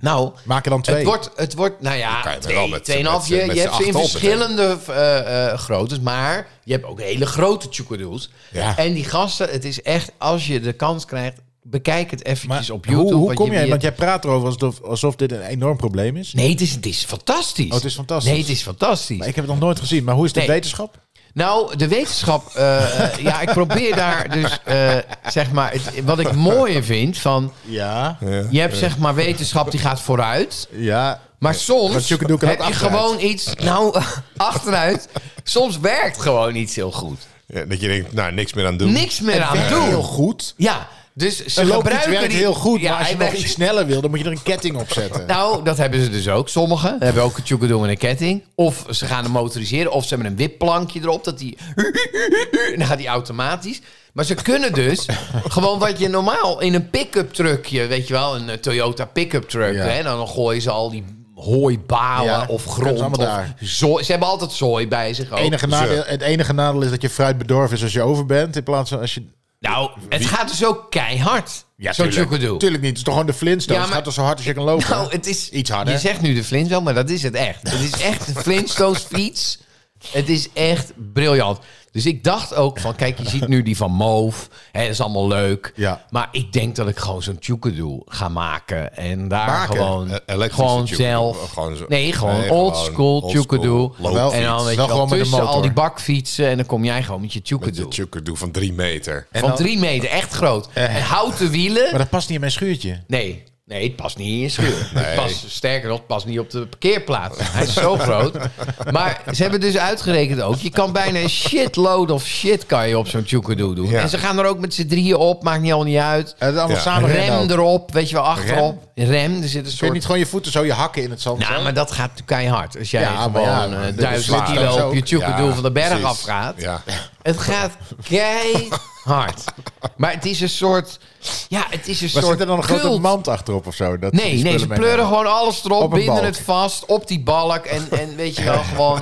Nou,
Maak er dan twee.
het wordt, het wordt, nou
kan je
ja,
er wel
twee,
met-
tweeënhalf.
met-
Je,
met
je
z'n
hebt ze in
acht op,
verschillende eh, eh, groottes, maar je hebt ook hele grote chucadoes.
Ja.
En die gasten, het is echt, als je de kans krijgt, bekijk het eventjes
maar
op YouTube.
hoe, hoe
want
kom jij?
je-
Want jij praat erover alsof, alsof dit een enorm probleem is.
Nee, het is, het is fantastisch.
Oh, het is fantastisch.
Nee, het is fantastisch.
Maar ik heb het nog nooit gezien. Maar hoe is de
Nee.
wetenschap?
Nou, de wetenschap. eh, eh, ja, ik probeer daar dus. eh, zeg maar. het- wat ik mooier vind van.
Ja.
Je hebt zeg maar wetenschap die gaat vooruit.
Ja.
Maar
Want
soms
Joeke Doeke
heb
had
je
achteruit.
gewoon iets. Nou, achteruit. Soms werkt gewoon iets heel goed.
Ja, dat je denkt, nou, niks meer aan doen.
Niks meer aan
Werkt heel
doen.
goed.
Ja, dus ze
Een loopfiets
gebruiken
werkt
die-
heel goed,
Ja,
maar als je
hij
nog
werkt-
iets sneller wil, dan moet je er een ketting op zetten.
Nou, dat hebben ze dus ook. Sommigen hebben ook een tjoekedoe en een ketting. Of ze gaan hem motoriseren. Of ze hebben een wipplankje erop. Dat die... En dan gaat die automatisch. Maar ze kunnen dus gewoon wat je normaal in een pick-up truckje... Weet je wel, een eh, Toyota pick-up truck.
Ja.
Hè, dan gooien ze al die hooibalen
Ja,
of
hebben
grond.
ze allemaal
of
daar.
zooi. Ze hebben altijd zooi bij zich ook.
enige nadeel, het enige nadeel is dat je fruit bedorven is als je over bent. In plaats van als je.
Nou, het gaat dus ook keihard. Zo'n tjoekedoe.
Tuurlijk niet. Het is toch gewoon de Flintstones.
Ja, maar-
Het gaat toch zo hard als je kan lopen.
Nou, het is...
Iets harder.
Je zegt nu de Flintstones, maar dat is het echt. Het is echt de Flintstones fiets. Het is echt briljant. Dus ik dacht ook van, kijk, je ziet nu die van Moof. Hè, dat is allemaal leuk.
Ja.
Maar ik denk dat ik gewoon zo'n tjoekedoe ga maken. En daar
Maken?
gewoon,
E- elektrische
gewoon
tjoekedoe.
zelf.
Gewoon zo-
nee, gewoon
nee,
old
gewoon
school
old
tjoekedoe.
school
loopfiets.
En dan weet je
Wel
wel,
gewoon met de
tussen
motor.
al die bakfietsen. En dan kom jij gewoon met je
Met
tjoekedoe.
je tjoekerdoe van drie meter.
Van drie meter, echt groot. En houten wielen.
Maar dat past niet in mijn schuurtje.
Nee, nee, het past niet in je schuur. Het past, sterker nog, het past niet op de parkeerplaats. Hij is zo groot. Maar ze hebben dus uitgerekend ook. Je kan bijna een shitload of shit kan je op zo'n tjoekedoe doen.
Ja.
En ze gaan er ook met z'n drieën op. Maakt niet al niet uit.
En het allemaal
Ja.
samen rennen ook.
Rem erop, weet je wel, achterop. Rem, er zit een
Kun je
soort...
niet gewoon je voeten zo je hakken in het zand?
Nou, maar dat gaat natuurlijk keihard. Als jij
Ja, maar
gewoon
ja,
eh,
maar dat is
duizend
waar. Dat is
kilo op je
ook-
tjoekedoe
ja,
van de berg
precies.
afgaat.
Ja.
Het gaat keihard. Maar het is een soort... Ja, het is een
maar
soort
zit er dan een grote
cult.
mand achterop of zo? Dat ze
Nee,
die
nee,
spullen
ze pleuren
meenemen?
gewoon alles erop,
Op een
binden
balk.
het vast op die balk en, en weet je wel, gewoon...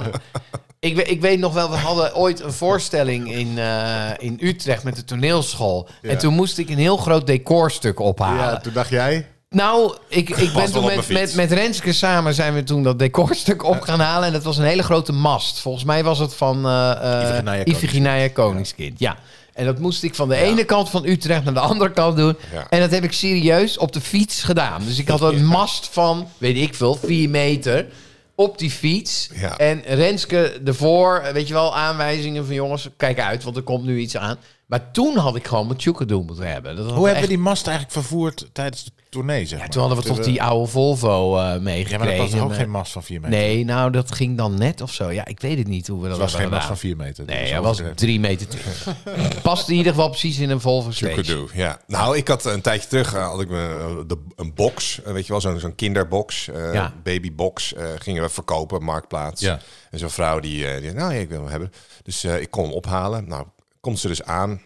Ik, we- ik weet nog wel, we hadden ooit een voorstelling in, eh, in Utrecht met de toneelschool. En toen moest ik een heel groot decorstuk ophalen.
Ja, toen dacht jij...
Nou, ik, ik ben
wel
toen
op
met,
mijn
met,
fiets.
met Renske samen zijn we toen dat decorstuk op gaan halen. En dat was een hele grote mast. Volgens mij was het van eh eh,
Iphigenia
Iphigenia Koningskind. Ja. En dat moest ik van de ene kant van Utrecht naar de andere kant doen.
Ja.
En dat heb ik serieus op de fiets gedaan. Dus ik had een mast van, weet ik veel, vier meter op die fiets.
Ja.
En Renske ervoor, eh, weet je wel, aanwijzingen van jongens, kijk uit, want er komt nu iets aan. Maar toen had ik gewoon mijn tjoekedoe moeten hebben. Dat had
Hoe hebben
echt-
we die mast eigenlijk vervoerd tijdens de tournee, zeg
ja,
maar?
toen hadden we toch die oude Volvo eh
Ja,
meegekregen.
maar dat was toch ook geen mast van 4 meter?
Nee, nou, dat ging dan net of zo. Ja, ik weet het niet hoe we dat
Het was geen
hebben
mast van
gedaan.
4 meter. dus
Nee,
Dat
hij was
overdreven.
3 meter 20. Past in ieder geval precies in een Volvo Stage.
Tjoekerdoe, ja. Nou, ik had een tijdje terug eh, had ik me, eh, de, een box, eh, weet je wel, zo'n zo'n kinderbox, eh,
Ja.
babybox, eh, gingen we verkopen op Marktplaats.
Ja.
En zo'n vrouw die, eh, die zei, nou ja, ik wil hem hebben. Dus eh, ik kon hem ophalen. Nou, komt ze dus aan.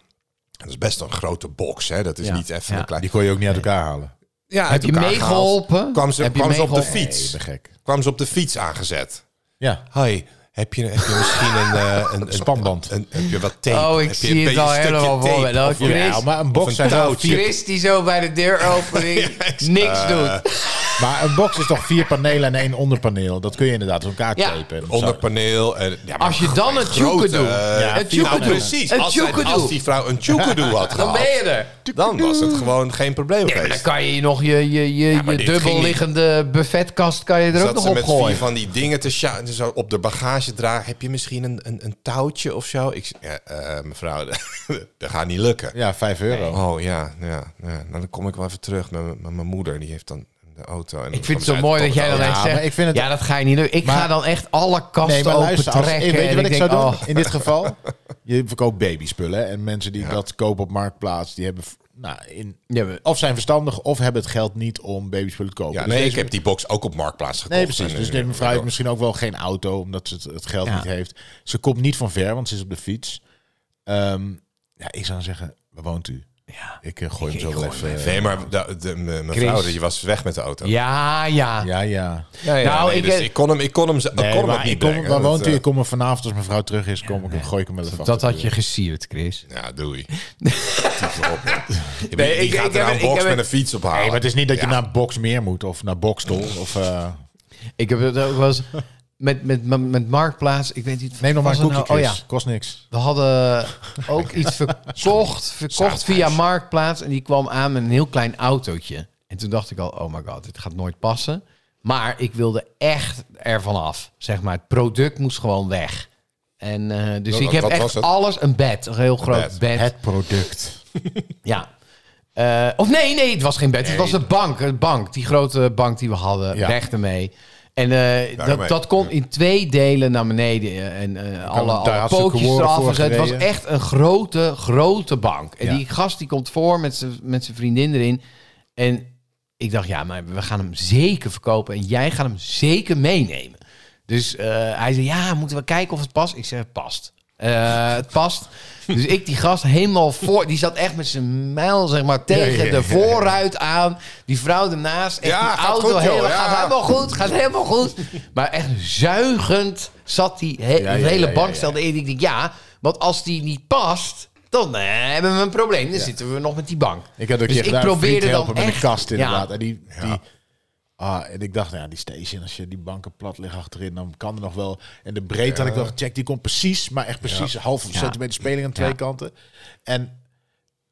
Dat is best een grote box, hè. Dat is
Ja.
niet even
Ja.
een klein...
Die kon je ook niet uit elkaar halen.
Ja, uit
Heb je
elkaar
meegeholpen?
gehaald. Kwam ze,
Heb je
kwam ze op de
meegeholpen?
fiets.
Te gek.
kwam ze op de fiets aangezet.
Ja.
Hoi, heb je, heb je misschien een, eh, een, een
Spanband.
Een, heb je wat tape?
Oh, ik
Heb je
zie
een
het
beetje
al
een stukje
helemaal voor me.
tape?
Nou,
Of-
Chris,
Ja, maar een
Of
box
een
zijn wel
touwtje.
vier...
Chris die zo bij de deuropening niks doet.
Maar een box is toch vier panelen en één onderpaneel? Dat kun je inderdaad op elkaar
Ja.
tapen. of zo.
onderpaneel. En, ja, maar
Als je dan
gewoon
een
grote,
tjoekedoe-
eh,
Ja,
nou,
tjoekedoe.
precies.
Een
als, zij-
tjoekedoe.
als die vrouw een tjoekedoe had
Dan ben
gehad,
je er.
dan was het gewoon geen probleem
Ja, maar dan
geweest.
kan je nog je, je, je,
maar
je
dit ging
dubbelliggende buffetkast kan je er ook
Zat
nog
ze
op
met vier
gooien.
van die dingen te sja- zo op de bagage dragen. Heb je misschien een, een, een touwtje of zo? Ik, z- ja, eh, mevrouw, dat gaat niet lukken.
Ja, vijf euro.
Oh ja, ja, ja. Nou, dan kom ik wel even terug met, mijn- met mijn moeder. Die heeft dan de auto. En dan
Ik vind het
kwam zij
zo mooi dat
uit de
jij dan
auto.
echt
Ja,
zegt,
maar ik vind het-
ja, dat ga je niet doen. Ik
Maar-
ga dan echt alle kasten
Nee, maar
open
luister, als,
trekken.
eh, weet je
en
wat ik
denk,
zou doen?
oh.
In dit geval, je verkoopt babyspullen. En mensen die dat kopen op Marktplaats, die hebben... v- Nou, in,
Ja, maar-
of zijn verstandig, of hebben het geld niet om babyspullen te kopen.
Ja,
Dus
nee, ik
deze-
heb die box ook op Marktplaats gekocht.
Nee, precies.
En,
Dus
eh,
de mevrouw heeft misschien ook wel geen auto, omdat ze het, het geld
Ja.
niet heeft. Ze komt niet van ver, want ze is op de fiets. Ehm, ja, ik zou zeggen, waar woont u?
Ja.
Ik eh, gooi
Ik-
hem
ik
zo wel
gooi
even. eh,
Nee, maar de, de, me- mevrouw,
Chris.
die was weg met de auto.
Ja, ja.
Ja, ja.
Ja, ja,
Nou,
nee,
ik-
dus ik, kon hem, ik kon hem, ze- ik kon hem ook
maar
niet
ik kom,
brengen.
waar
Dat,
woont u?
eh,
Ik kom er vanavond als mevrouw terug is, kom ik en gooi ik hem wel even
Dat
achter
had je gesierd, Chris.
eh, Ja, doei. Tyfus op, joh. Die- die
ik- ik
gaat
heb
er
het-
een
ik
box
heb
met
het-
een fiets ophalen.
de deur. Nee, maar het is niet dat je
Ja.
naar Boxmeer moet of naar Bokstel. Of, eh,
Ik heb het ook wel eens met, met, met, met Marktplaats. Ik weet niet.
neem nog maar een
was het
koekje,
nou-
Chris.
Oh ja.
Kost niks.
We hadden ook iets verkocht, verkocht via Marktplaats. En die kwam aan met een heel klein autootje. En toen dacht ik al, oh my god, dit gaat nooit passen. Maar ik wilde echt ervan af. Zeg maar, het product moest gewoon weg. En, eh, dus
Wat-
ik heb
wat Nou, was
echt
het?
alles een bed. Een heel groot
bed.
bed.
Het product.
Ja. Eh, of nee, nee, het was geen bed. Het was de bank. Een bank. Die grote bank die we hadden.
Ja.
Weg ermee. En eh,
ermee.
dat, dat kon in twee delen naar beneden. eh, En eh, alle,
daar
alle
had ze
pootjes
Comoren
eraf.
voor
en zo. Het was
gereden.
echt een grote, grote bank. En
Ja.
die gast die komt voor met zijn met zijn vriendin erin. En ik dacht, ja, maar we gaan hem zeker verkopen. En jij gaat hem zeker meenemen. Dus eh, hij zei, ja, moeten we kijken of het past? Ik zeg, het past. Eh, het past. Dus ik die gast helemaal voor... Die zat echt met zijn mijl, zeg maar, tegen
Ja, ja, ja,
de voorruit aan. Die vrouw ernaast. Echt
Ja,
die
gaat
auto
goed, joh,
helemaal,
ja.
gaat helemaal goed. Gaat helemaal goed. Maar echt zuigend zat die he-
Ja, ja,
hele
ja, ja,
bank.
ja.
Stelde in. Ik denk, ja, want als die niet past... Dan eh, hebben we een probleem. Dan zitten we nog met die bank.
Ik had ook
Dus
je
ik
gedaan,
probeerde
probeerde helpen
dan
met een
echt-
kast
ja.
inderdaad. En, die, die, ah, en ik dacht, nou ja, die station, als je die banken plat liggen achterin, dan kan er nog wel. En de breedte had ik wel gecheckt, die komt precies, maar echt precies een half
Ja.
centimeter speling aan twee
Ja.
kanten. En,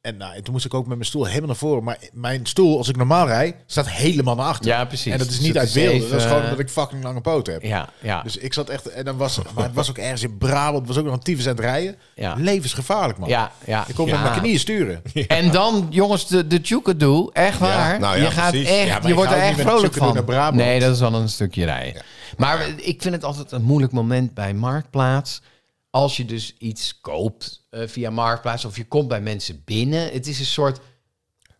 en, nou, en toen moest ik ook met mijn stoel helemaal naar voren. Maar mijn stoel, als ik normaal rij, staat helemaal naar achter.
Ja, precies.
En dat is
Dus
niet
het
uit
is
wilde, dat is
even- eh,
gewoon omdat ik fucking lange poten heb.
Ja, ja.
Dus ik zat echt, en dan was, maar het was ook ergens in Brabant, was ook nog een tyfus aan het rijden.
Ja.
Levensgevaarlijk, man.
ja, ja.
Ik kon met
Ja.
mijn knieën sturen.
En dan, jongens, de, de Tjoekedoe. Echt waar.
nou ja,
je gaat
precies.
echt,
Ja, maar
je
je
wordt
gaat
er
ook
echt
niet met
vrolijk
Tjoekedoe
van.
naar Brabant.
Nee, dat is wel een stukje rijden. Maar ik vind het altijd een moeilijk moment bij Marktplaats. Als je dus iets koopt eh, via Marktplaats of je komt bij mensen binnen. Het is een soort...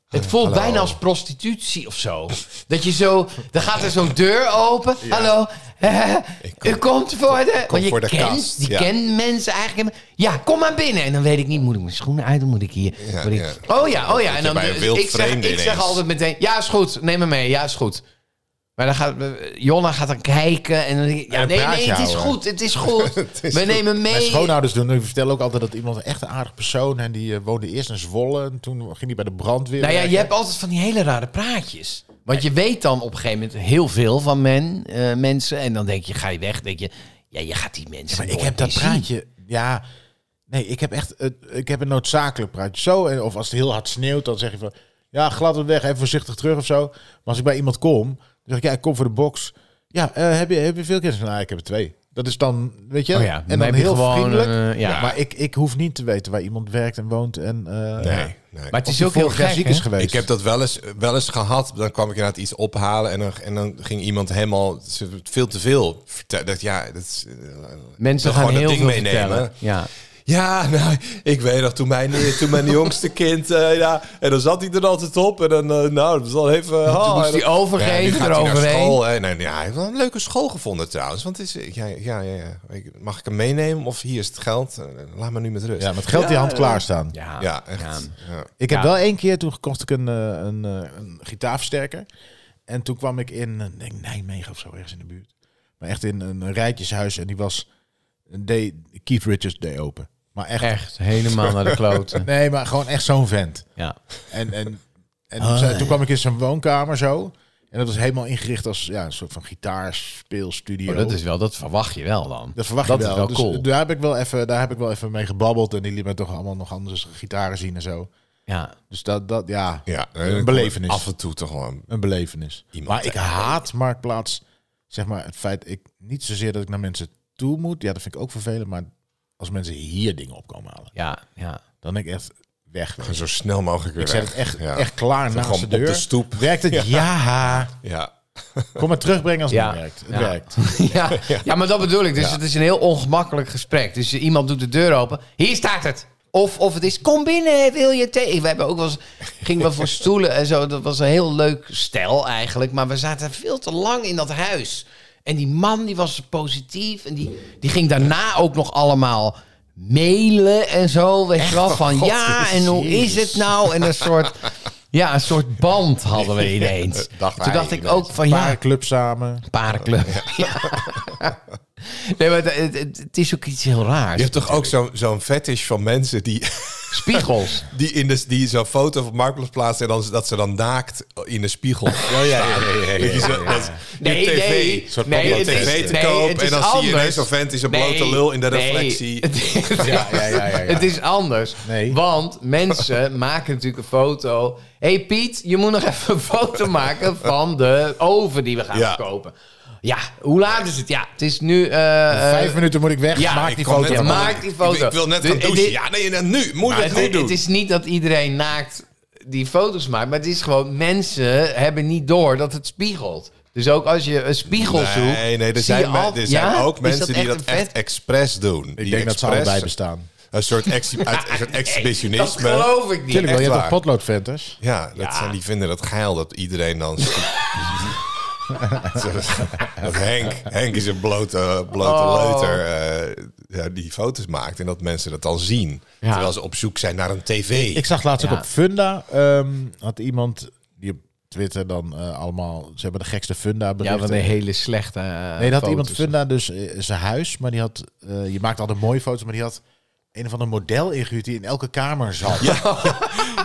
Het voelt bijna als prostitutie of zo. Dat je zo... Dan gaat er zo'n deur open. Hallo. u komt voor de... want je
voor de
kent,
kast,
die
ja.
kent mensen eigenlijk. helemaal- Ja, kom maar binnen. En dan weet ik niet, moet ik mijn schoenen uit of moet ik hier...
Ja,
moet ik-
ja.
Oh ja, oh ja. En
je
dan,
bij een wild
ik zeg,
vreemde
ik zeg
ineens.
altijd meteen, ja is goed, neem me mee, ja is goed. Maar dan gaat, Jonna gaat dan kijken en dan denk ik, ja
En dan
nee,
praat
nee,
je
het is
houden.
goed, het is goed.
is
We
goed.
nemen
Mijn
mee.
schoonouders doen, die vertellen ook altijd dat iemand een echt een aardig persoon en die eh, woonde eerst in Zwolle en toen ging hij bij de brandweer.
Nou ja,
werken.
je hebt altijd van die hele rare praatjes. Want je weet dan op een gegeven moment heel veel van men, eh, mensen. En dan denk je, ga je weg, denk je, ja je gaat die mensen
maar ik
nooit
heb dat
meer zien.
praatje. Ja, nee, ik heb echt, eh, ik heb een noodzakelijk praatje. Zo, eh, of als het heel hard sneeuwt, dan zeg je van, ja, glad het weg, even voorzichtig terug of zo. Maar als ik bij iemand kom, dan zeg ik, ja, ik kom voor de box. Ja, eh, heb je, heb je veel kinderen? Nou, ik heb er twee. Dat is dan, weet je,
Oh ja,
en
dan
dan
heb je
heel
gewoon,
vriendelijk.
eh, ja.
Maar ik, ik hoef niet te weten waar iemand werkt en woont en. eh,
Nee, nee.
Maar het
of
is
die
ook heel
vorig jaar
gek,
ziek
hè?
is geweest.
Ik heb dat wel eens, wel eens gehad. Dan kwam ik inderdaad iets ophalen en dan, en dan ging iemand helemaal ze- veel te veel vertellen. Dat, ja, dat is, eh,
Mensen
dan
gaan
gewoon dat
heel veel
ding
vertellen. Ja.
Ja, nou, ik weet nog, toen mijn, eh, toen mijn jongste kind, eh, ja, en dan zat hij er altijd op. En dan, eh, nou, dat is al even... oh,
Toen moest
en dan-
hij overgeven,
Ja, nu gaat hij naar
eroverheen.
school. En, en, ja, hij heeft wel een leuke school gevonden trouwens. Want het is, ja, ja, ja, ja. Ik- mag ik hem meenemen? Of hier is het geld? Eh, Laat me nu met rust.
Ja, met geld die hand klaarstaan.
Ja.
Ja, echt. Ja.
Ik heb
Ja.
wel één keer, toen gekocht ik een, eh, een, eh, een gitaarversterker. En toen kwam ik in eh, denk ik, Nijmegen of zo, ergens in de buurt. Maar echt in een rijtjeshuis. En die was, deed Keith Richards day open. Maar echt,
Echt, helemaal naar de kloten.
nee, maar gewoon echt zo'n vent.
Ja.
En, en, en
Oh,
toen zei- toen kwam ik in zijn woonkamer zo. En dat was helemaal ingericht als ja, een soort van gitaarspeelstudio.
Oh, dat is wel, dat verwacht je wel dan.
Dat verwacht
dat
je
is
wel.
wel
dus
cool.
daar, heb ik wel even, daar heb ik wel even mee gebabbeld. En die liet mij toch allemaal nog andere gitaren zien en zo.
Ja.
Dus dat, dat ja,
Ja, eh,
een belevenis.
Af en toe toch gewoon
een belevenis.
Iemand
maar ik haat Marktplaats. Zeg maar het feit, ik, niet zozeer dat ik naar mensen toe moet. Ja, dat vind ik ook vervelend. Maar als mensen hier dingen op komen halen,
Ja, ja.
dan denk ik echt weg.
zo snel mogelijk weer
Ik zet
weg.
het echt,
Ja.
echt klaar naast
gewoon
de
op
deur.
de stoep.
Werkt het? Ja.
Ja.
Kom maar terugbrengen als het
Ja.
niet werkt. Het
Ja.
werkt.
Ja, ja, maar dat bedoel ik. Dus het is een heel ongemakkelijk gesprek. Dus iemand doet de deur open. Hier staat het. Of, of het is, kom binnen, wil je thee? We hebben ook wel eens, gingen we voor stoelen en zo. Dat was een heel leuk stel eigenlijk. Maar we zaten veel te lang in dat huis. En die man, die was positief. En die, die ging daarna ook nog allemaal mailen en zo. Weet je wel, van ja, en hoe is het nou? En een soort, ja, een soort band hadden we ineens.
Dacht
Toen
wij
dacht ik
ineens.
ook van, Oh, ja, Eh,
Paar clubs samen.
parenclub. Ja. nee, maar het, het- het is ook iets heel raars.
Je hebt toch ook zo'n zo'n fetish van mensen die
Spiegels.
Die, in de, die zo'n foto op Marktplaats plaatst en dan, dat ze dan naakt in de spiegel. Ja, ja, ja. Dat je zo- dat is
Nee,
je tv,
nee.
een soort
Nee,
pop-up
het is-
tv te
nee,
koop
het
en
is
dan zie je ineens
anders.
zo'n vent in zijn
Nee,
blote lul in de
nee.
reflectie.
Ja, ja, ja, ja, ja.
Het is anders.
Nee.
Want mensen maken natuurlijk een foto. Hé hey Piet, je moet nog even een foto maken van de oven die we gaan
Ja.
kopen. Ja, hoe laat is het? Ja, het is nu... eh, eh,
Vijf minuten moet ik weg.
ja,
Maak
ik
die
kom
foto.
net
ja,
aan de-
maak die foto.
Ik, ik wil net gaan
Dit- dit-
douchen. ja, nee, nee, nu. Moet je
Maar
het
het,
nu doen.
het is niet dat iedereen naakt die foto's maakt, maar het is gewoon mensen hebben niet door dat het spiegelt. Dus ook als je een spiegel zoekt,
Nee, nee, er
zie je
zijn, me-
al-
er zijn
Ja?
ook
Is
mensen die
echt
dat
een
echt
vet-
expres doen.
Ik denk dat ze allebei bestaan.
Een soort, exhi- uit- een soort
Dat
exhibitionisme.
geloof ik niet.
Tuurlijk, wel, je hebt
waar.
toch potloodventers?
Ja, dat Zijn, die vinden dat geil dat iedereen dan. dat Henk, Henk is een blote, blote leuter eh, ja, die foto's maakt en dat mensen dat dan zien.
Ja.
Terwijl ze op zoek zijn naar een tv.
Ik zag laatst
Ja.
ook op Funda, ehm, had iemand die op Twitter dan eh, allemaal, ze hebben de gekste Funda
Ja,
berichten.
van een hele slechte. eh,
Nee, dat had iemand Funda dus eh, zijn huis, maar die had, eh, je maakt altijd mooie foto's, maar die had een van de model ingehuurd die in elke kamer zat. Ja,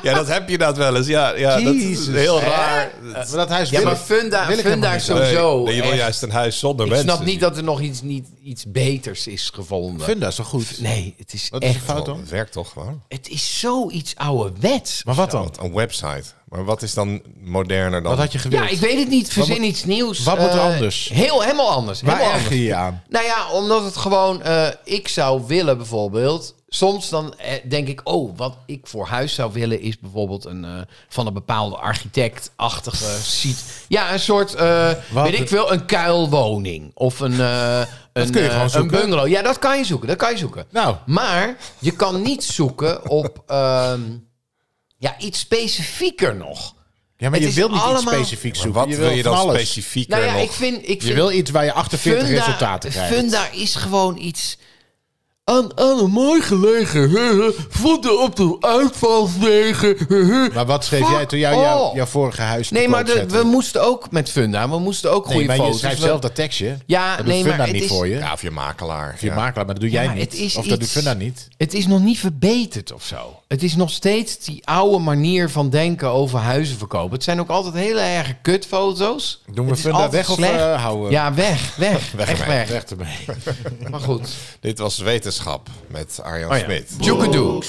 Ja, dat heb je dat wel eens. Ja, ja dat is
Jezus. Eh,
heel raar.
Ah, maar dat huis
Ja,
wil
maar
ik-
Funda,
wil ik
Funda
helemaal
is
niet.
sowieso.
Nee, je wil
echt-
juist een huis zonder
ik
mensen.
snap niet
die-
dat er nog iets, niet, iets beters is gevonden.
Funda is toch goed?
Nee, het is
Wat is
echt.
de fout dan?
Dat werkt toch gewoon?
Het is zoiets ouderwets.
Maar wat dan?
Want een website. Maar wat is dan moderner dan?
Wat had je gewild?
Ja, ik weet het niet. Verzin
moet-
iets nieuws.
wat moet er
Eh,
anders?
Heel, helemaal anders.
Waar
helemaal
erger
anders.
je je aan?
Nou ja, omdat het gewoon... eh, ik zou willen bijvoorbeeld... Soms dan eh, denk ik... Oh, wat ik voor huis zou willen is bijvoorbeeld een... eh, van een bepaalde architect-achtige... Ziet, ja, een soort... eh,
Wat?
weet ik veel, een kuilwoning. Of een... eh, een,
kun je
eh,
gewoon
een
zoeken.
bungalow. Ja, dat kan je zoeken. Dat kan je zoeken.
Nou.
Maar je kan niet zoeken op... ehm, ja, iets specifieker nog.
Ja, maar
Het
je
is
wil niet
allemaal-
iets specifiek
Maar
zoeken.
wat wil je
van
dan
alles.
specifieker
Nou ja,
nog?
ik vind... Ik
Je
vind
wil iets waar je 48 resultaten krijgt.
Funda is gewoon iets... Aan, aan een mooi gelegen hè, voeten op de uitvalswegen. hè.
Maar wat schreef jij
Fuck
toen jou, jou,
all.
jouw vorige huis te
Nee, maar
koop
de-
zette?
we moesten ook met Funda. We moesten ook
Nee,
goede
maar
foto's.
je schrijft
We-
zelf dat tekstje.
Ja,
dat
nee,
doet Funda
maar het
niet
is-
voor je.
Ja, of je makelaar.
Je
Ja.
makelaar, maar dat doe jij
maar
niet.
het is
of dat doet
iets-
Funda niet.
Het is nog niet verbeterd of zo. Het is nog steeds die oude manier van denken over huizen verkopen. Het zijn ook altijd hele erge kutfoto's.
Doen we
Het is
Funda
altijd
weg of
slecht.
eh, houden we
Ja, weg, weg. weg, echt
ermee,
weg. Oh.
weg ermee?
Maar goed.
Dit was Wetenschap met Arjan
Oh ja.
Smit.
Tjoekedoe.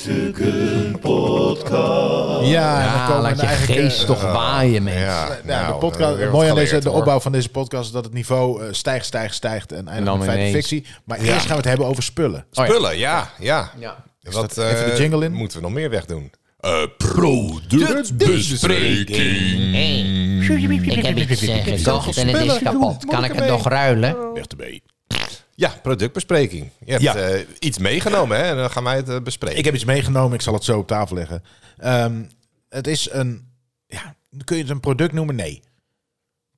Ja, en dan
Ja,
komen
laat
we
je
eigenlijk... eh,
geest toch waaien, mensen.
Ja,
nou,
nou,
de podcast,
weer
het
wat
mooie aan
geleerd,
deze, de
hoor.
opbouw van deze podcast is dat het niveau eh, stijgt, stijgt, stijgt en
dan
eindigt met feit en
ineens-
fictie. Maar eerst gaan we het hebben over spullen.
Oh ja.
Spullen, ja, ja.
Ja.
Wat
dat even de
eh,
jingle in?
moeten we nog meer weg doen? Eh productbespreking.
Ik heb iets eh, gekocht en het is kapot. Kan ik het nog ruilen?
Weg ermee.
Ja, productbespreking. Je hebt
Ja.
eh, iets meegenomen hè? en dan gaan wij het eh, bespreken.
Ik heb iets meegenomen, ik zal het zo op tafel leggen. Ehm, het is een... Ja, kun je het een product noemen? Nee.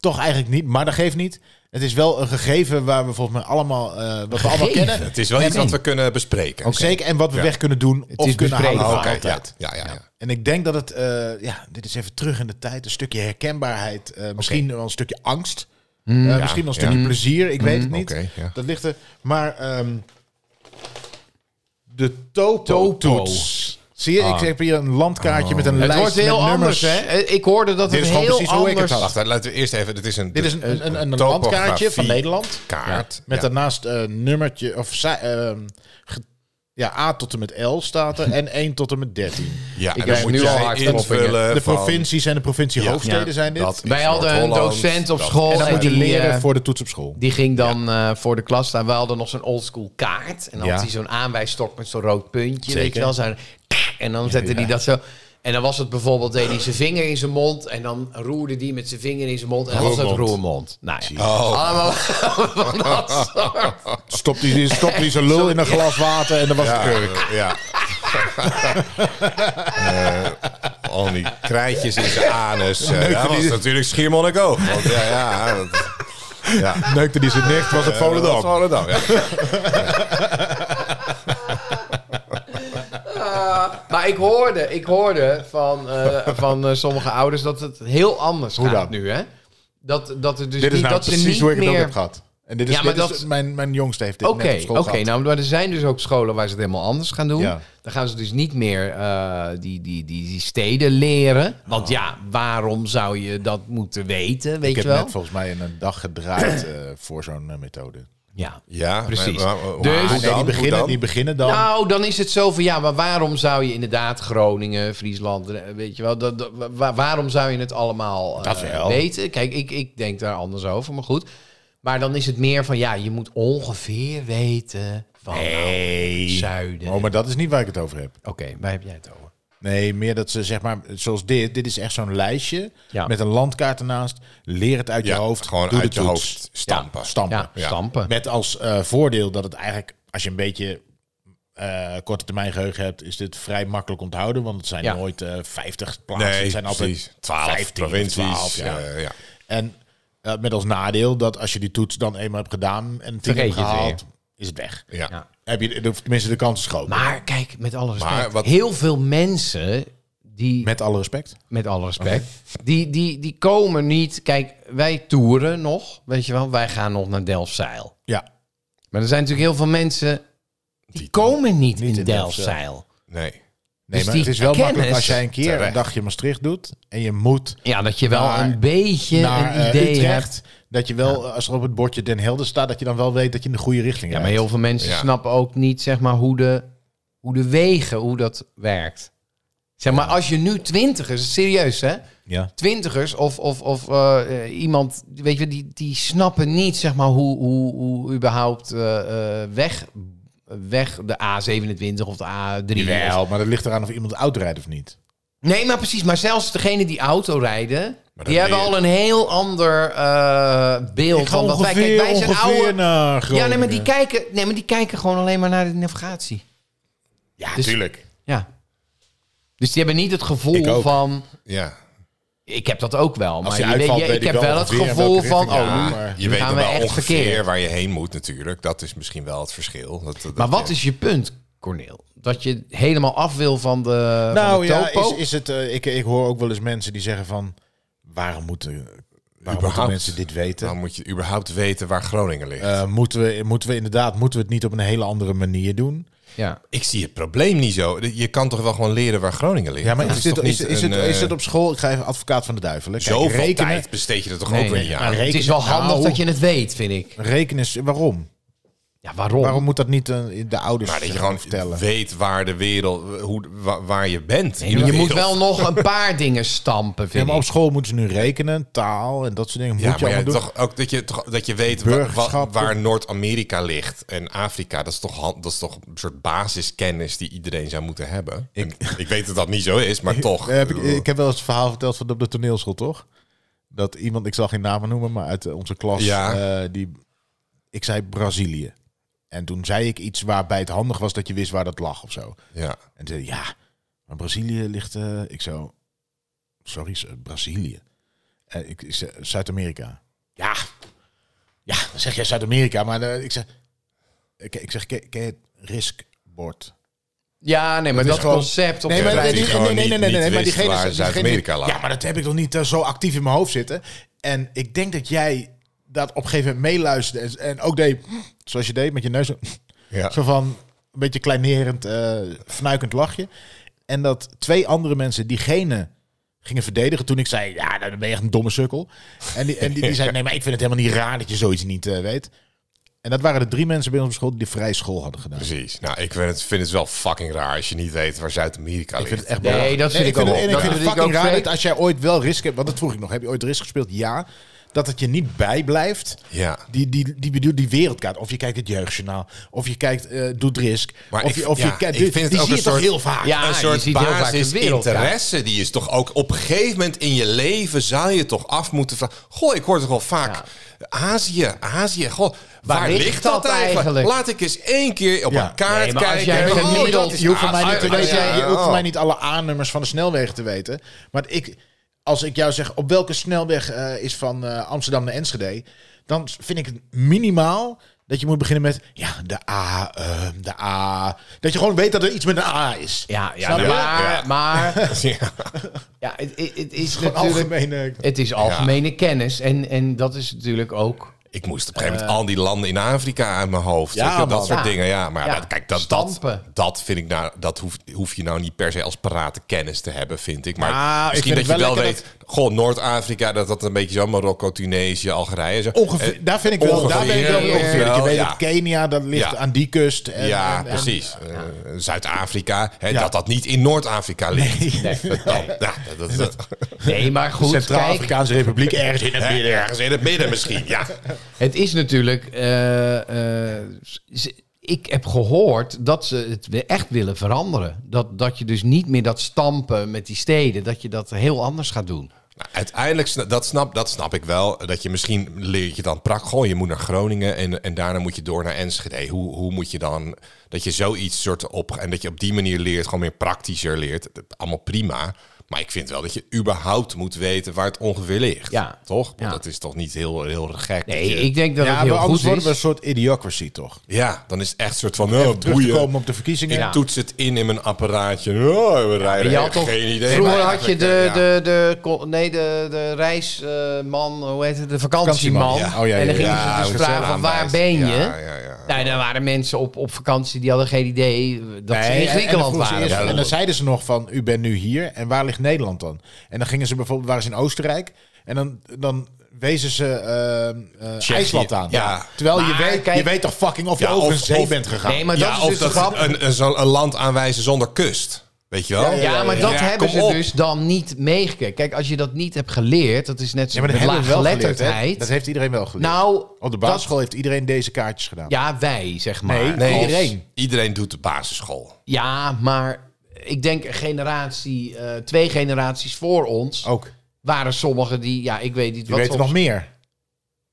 Toch eigenlijk niet, maar dat geeft niet. Het is wel een gegeven waar we volgens mij allemaal... eh, wat we allemaal
Gegeven?
kennen.
het is wel iets wat we kunnen bespreken.
Zeker, en wat we
Ja.
weg kunnen doen of
is
kunnen halen.
bespreekbaar.
Oh,
voor
Oké, ja,
altijd.
ja, ja, ja.
En ik denk dat het, eh, ja, dit is even terug in de tijd, een stukje herkenbaarheid, eh, misschien wel een stukje angst, Eh, misschien wel een
ja.
stukje plezier, ik weet het niet.
Oké, ja.
Dat ligt er. Maar ehm, de Toto-toets. Zie je, ik heb hier een landkaartje met een
Oh. Het
lijst
wordt
met
heel anders,
nummers.
hè? Eh, Ik hoorde dat
Dit
het
is gewoon
heel
precies hoe ik het
anders...
had.
Wacht, laten we eerst even. Dit is een,
Dit is een, een, een, een
topografie
landkaartje van Nederland.
Kaart.
Ja, met
Ja.
daarnaast een nummertje, of zij- ehm, ge- ja, A tot en met L staat er en 1 tot en met 13.
Ja, en
heb
dan moet
nu al
jij
hartkloppingen.
invullen
De
van-
provincies en de provinciehoofdsteden
Ja.
zijn dit.
Dat is
Wij hadden een
Noord-Holland,
docent op
dat-
school
en dan
en
moet je
die,
leren
eh,
voor de toets op school.
Die ging dan eh, voor de klas staan. We hadden nog zo'n oldschool kaart. En dan
Ja.
had hij zo'n aanwijsstok met zo'n rood puntje. Weet
Zeker.
je wel, zo'n en dan zette hij dat zo... En dan was het bijvoorbeeld, deed hij zijn vinger in zijn mond. En dan roerde die met zijn vinger in zijn mond. En dan was het
Roermond.
roermond. Nou ja,
Oh.
allemaal van dat soort.
Stopt hij stopt die zijn lul in een glas water en dan was het
Ja,
keurig.
eh, ja. Eh, al die krijtjes in zijn anus. eh, dat was natuurlijk Schiermonnik ook. Want, ja, ja, dat, ja.
Neukte die zijn nicht, was het
Dat was
Volendam.
Volendam, ja.
Maar ik hoorde, ik hoorde van, eh, van eh, sommige ouders dat het heel anders
Hoe
gaat
dan?
nu, hè? Dat, dat het dus
Dit is
niet,
nou
dat ze
precies
niet
hoe ik het
meer,
ook heb gehad. En dit is,
Ja, maar
dit is
dat-
mijn, mijn jongste heeft dit
Oké,
net op
oké.
school gehad.
nou, maar er zijn dus ook scholen waar ze het helemaal anders gaan doen.
Ja.
Dan gaan ze dus niet meer eh, die, die, die, die steden leren. Want ja, waarom zou je dat moeten weten, weet
Oh. ik
je wel?
heb net volgens mij een dag gedraaid eh, voor zo'n eh, methode.
Ja.
Ja,
Precies.
maar- maar- maar-
Dus-
hoe
Ah,
dan?
nee,
die,
Hoe
beginnen,
dan?
die beginnen dan.
Nou, dan is het zo van ja, maar waarom zou je inderdaad Groningen, Friesland, eh, weet je wel, dat, dat- wa- waarom zou je het allemaal eh,
Dat wel.
weten? Kijk, ik, ik denk daar anders over, maar goed. Maar dan is het meer van ja, je moet ongeveer weten van nou, het zuiden.
Oh, maar dat is niet waar ik het over heb.
Oké, waar heb jij het over?
Nee, meer dat ze zeg maar, zoals dit. Dit is echt zo'n lijstje
Ja.
met een landkaart ernaast. Leer het uit
Ja,
je hoofd.
gewoon
doe de
uit je
toets.
hoofd stampen.
Ja, stampen.
Ja, stampen.
Met als eh, voordeel dat het eigenlijk, als je een beetje eh, korte termijn geheugen hebt, is dit vrij makkelijk onthouden. Want het zijn
Ja.
nooit eh 50 plaatsen.
Nee,
het zijn altijd
precies. 12
15 of
provincies.
12, ja.
eh, ja.
En eh, met als nadeel dat als je die toets dan eenmaal hebt gedaan en tien
Vergeet
hebt
je het
gehaald, is het weg.
Ja.
Ja.
Heb je, of tenminste, de kans is groot.
Maar kijk, met alle respect,
Maar wat-
heel veel mensen die
Met alle respect.
Met alle respect. Die, die, die komen niet. Kijk, wij toeren nog. Weet je wel, wij gaan nog naar Delfzijl.
Ja.
Maar er zijn natuurlijk heel veel mensen. Die, komen niet,
niet
in
in
Delfzijl.
Nee.
Nee,
Dus
maar
die
het is wel
kennis-
makkelijk als jij een keer
Terecht.
een dagje Maastricht doet en je moet
Ja, dat je wel
Naar-
een beetje
naar
een
eh,
idee hebt.
Utrecht. Dat je wel, eh, als er op het bordje Den Helder staat, dat je dan wel weet dat je in de goede richting
Ja, maar
rijdt.
heel veel mensen
Ja.
snappen ook niet, zeg maar, hoe de, hoe de wegen, hoe dat werkt. Zeg maar, als je nu twintigers, serieus hè,
Ja.
twintigers of, of, of eh, eh, iemand, weet je, die, die snappen niet zeg maar, hoe, hoe, hoe überhaupt eh, eh, weg, weg de A27 of de A3. of-
Jawel, maar dat ligt eraan of iemand oud rijdt of niet.
Nee, maar precies. Maar zelfs degene die auto rijden, die hebben
leer je-
al een heel ander eh, beeld van wat wij kijken. Wij zijn oude. Ja, nee maar, die kijken, nee, maar die kijken gewoon alleen maar naar de navigatie.
Ja,
dus-
tuurlijk.
Ja. Dus die hebben niet het gevoel
Ik ook.
van.
Ja.
Ik heb dat ook wel. Maar
je
je
uitvalt,
weet, je-
weet
ik
ik
heb
wel
wel het
ongeveer in
gevoel
welke
van.
richting.
Oh,
Ja,
nu-
maar
Je
nu
weet
gaan
dan
we
wel
echt
ongeveer
verkeerd.
waar je heen moet natuurlijk. Dat is misschien wel het verschil. Dat, dat-
Maar wat
je-
is je punt, Corneel? Dat je helemaal af wil van de, van
Nou
de
ja,
topo?
is, is het, eh, ik, ik hoor ook wel eens mensen die zeggen van... Waarom moeten, waarom moeten
Überhaupt.
mensen dit weten?
Dan moet je überhaupt weten waar Groningen ligt.
Eh, moeten, we, moeten we inderdaad moeten we het niet op een hele andere manier doen?
ja.
ik zie het probleem niet zo. Je kan toch wel gewoon leren waar Groningen ligt?
Ja, maar
Dat
is, dit,
toch
is,
niet
is, het,
een, eh,
is het op school? Ik ga even advocaat van de duivel. hè. Kijk,
Zoveel
rekenen,
tijd besteed je er toch
Nee,
ook weer
nee,
niet
maar
aan?
rekenen-
Het is wel handig
Nou,
dat je het weet, vind ik.
Rekenen is... Waarom?
Ja, waarom?
Waarom moet dat niet eh, de ouders
Maar dat je
eh,
gewoon
vertellen?
weet waar de wereld, hoe, wa- waar je bent.
Nee, je moet wel nog een paar dingen stampen,
Ja,
vind
maar op
ik.
school moeten ze nu rekenen, taal en dat soort dingen. Moet
Ja,
je
maar ja,
allemaal doen.
toch ook dat je, toch, dat je weet wa- wa-
Burgerschap.
waar Noord-Amerika ligt en Afrika. Dat is, toch, hand- dat is toch een soort basiskennis die iedereen zou moeten hebben. Ik, ik weet dat dat niet zo is, maar toch.
Eh, heb ik, ik heb wel eens het verhaal verteld van op de toneelschool, toch? Dat iemand, ik zal geen namen noemen, maar uit eh, onze klas,
Ja.
eh, die, ik zei Brazilië. En toen zei ik iets waarbij het handig was dat je wist waar dat lag of zo.
ja.
En zei, ja, maar Brazilië ligt, eh, ik zo, sorry, s- Brazilië. Eh, ik, ik zei, Zuid-Amerika. Ja, ja, dan zeg jij Zuid-Amerika, maar eh, ik zeg, ik, ik zeg, ken, ken je het riskbord?
Ja, nee, maar
is
dat
gewoon-
concept op
Nee,
Ja,
maar,
dat
nee,
hij
nee,
gewoon
nee, nee,
niet-
nee, nee,
niet
nee, maar
wist
diegene,
waar
diegene-
Zuid-Amerika lag.
Ja, maar dat heb ik nog niet eh, zo actief in mijn hoofd zitten. En ik denk dat jij dat op een gegeven moment meeluisterde. En, en ook deed, zoals je deed, met je neus. zo-
Ja.
Zo van, een beetje kleinerend, eh fnuikend lachje. En dat twee andere mensen diegene gingen verdedigen toen ik zei, ja, nou, dan ben je echt een domme sukkel. En die, en die, die zei, nee, maar ik vind het helemaal niet raar dat je zoiets niet eh, weet. En dat waren de drie mensen bij ons op school die de vrije school hadden gedaan.
Precies. Nou, ik vind het, vind het wel fucking raar als je niet weet waar Zuid-Amerika
Ik
ligt.
vind het echt
Nee,
belachelijk.
dat vind ik ook
het-
wel.
en
Dat
ik vind
vind
het
ik
fucking
ook
raar
vreemd.
dat als jij ooit wel risk hebt... Want dat vroeg ik nog. Heb je ooit risk gespeeld? Ja. Dat het je niet bijblijft.
Ja.
Die, die, die, die, die wereldkaart. Of je kijkt het jeugdjournaal. Of je kijkt eh Doet Risk.
Maar
of
ik-
je, of
ja,
je kijkt...
ik
Die,
vind het
die
ook
zie
een
je toch
soort-
heel vaak.
Ja,
een
je
soort
ziet heel vaak de wereld, ja.
basisinteresse, die is toch ook op een gegeven moment in je leven zou je toch af moeten vragen. Goh, ik hoor toch wel vaak Azië, Azië. Goh, waar, ligt, dat, eigenlijk?
eigenlijk?
Laat ik eens één keer op
Ja.
een kaart
Nee, maar als
kijken.
jij
Oh, dat
gemiddeld-
is
Je hoeft van mij
Azië.
niet, te weten-
Ja,
Ah, je hoeft van
oh.
mij niet alle A-nummers van de snelwegen te weten. Maar ik, als ik jou zeg op welke snelweg eh, is van eh, Amsterdam naar Enschede, dan vind ik het minimaal dat je moet beginnen met ja, de A, eh, de A. Dat je gewoon weet dat er iets met een A is.
Ja, ja,
Snap je?
maar,
Ja.
maar
Ja.
ja, het, het- het is
Gewoon eh,
natuurlijk... Eh,
algemene.
Het is algemene kennis en, en dat is natuurlijk ook
Ik moest op een gegeven moment al die landen in Afrika uit mijn hoofd.
Eh. Ja,
weet je wel, dat
man.
soort
Ja.
dingen. Ja, maar
Ja.
dat- kijk, dat, dat,
Stampen.
dat vind ik nou, dat hoef, hoef je nou niet per se als paratenkennis te hebben, vind ik. Maar
Ah, ik
misschien dat
vind
je
het wel
wel
lekker
weet, goh, Noord-Afrika, dat dat een beetje zo Marokko, Tunesië, Algerije. Zo.
Ongeveer,
Eh,
daar vind ik wel, daar ben ik wel
ongeveer,
ongeveer. Ik
wel,
weet
ja.
dat Kenia, dat ligt
Ja.
aan die kust. En,
ja,
en- en-
precies. Eh, Zuid-Afrika, hè,
Ja.
dat dat niet in Noord-Afrika ligt.
Nee,
Dan- ja, dat, dat,
nee maar goed, kijk,
Centraal-Afrikaanse Republiek ergens in het
hè,
midden.
ergens in het midden misschien, ja.
het is natuurlijk... eh, eh, ze- ik heb gehoord dat ze het weer echt willen veranderen. Dat, dat je dus niet meer dat stampen met die steden, dat je dat heel anders gaat doen.
Nou, uiteindelijk, sna- dat snap, dat snap ik wel. Dat je misschien leert je dan prak. Goh, je moet naar Groningen en, en daarna moet je door naar Enschede. Hoe, hoe moet je dan, dat je zoiets soort op... En dat je op die manier leert, gewoon meer praktischer leert. Dat- Allemaal prima. Maar ik vind wel dat je überhaupt moet weten waar het ongeveer ligt.
Ja.
Toch? Want
Ja.
dat is toch niet heel, heel gek. dat
Nee,
je-
ik denk dat
Ja,
het
maar
heel
anders
goed
worden
is.
we een soort idiocracy, toch?
Ja, dan is het echt soort van, oh,
Terug te
boeien.
komen op de verkiezingen.
Ik
Ja.
toets het in in mijn apparaatje. Oh, we rijden.
En je had toch-
geen idee.
Vroeger
Maar
had je de,
eigenlijk, eh, ja.
de, de, ko- nee, de, de reisman, eh, hoe heet het, de vakantieman.
Vakantieman, ja. Oh, ja, ja,
en dan gingen
Ja,
ze dus
zo'n
vragen van waar
aanwijs.
ben je?
Ja, ja, ja.
Nou, daar waren mensen op, op vakantie die hadden geen idee dat ze in
Nee, en- en dan
Griekenland
vroeg
waren.
ze eerst- en dan
bijvoorbeeld.
zeiden ze nog van, u bent nu hier. En waar ligt Nederland dan? En dan gingen ze bijvoorbeeld, waren ze in Oostenrijk. En dan, dan wezen ze ehm, eh,
Tsjechië.
IJsland aan.
Ja.
Terwijl je
Maar
weet, je
kijk-
weet toch fucking of je
Ja,
over
of-
een zee
of-
bent gegaan.
Nee, maar dat
ja,
is dus
of
de grap.
dat een, een, zo'n- een land aanwijzen zonder kust. Weet je wel?
"Oh,
ja, maar dat
kom
hebben ze
op.
dus dan niet meegekregen. Kijk, als je dat niet hebt geleerd, dat is net zo
Ja, maar dat
met
hebben we wel geleerd, hè?
laaggeletterdheid.
Dat heeft iedereen wel geleerd.
nou,
Op de
dat-
basisschool heeft iedereen deze kaartjes gedaan.
ja, wij, zeg maar.
Nee,
Nee,
iedereen.
Iedereen doet de basisschool.
Ja, maar ik denk een generatie, eh, twee generaties voor ons...
Ook.
waren sommigen die, ja, ik weet niet
Je
wat.
weet
ze
er
op-
nog meer.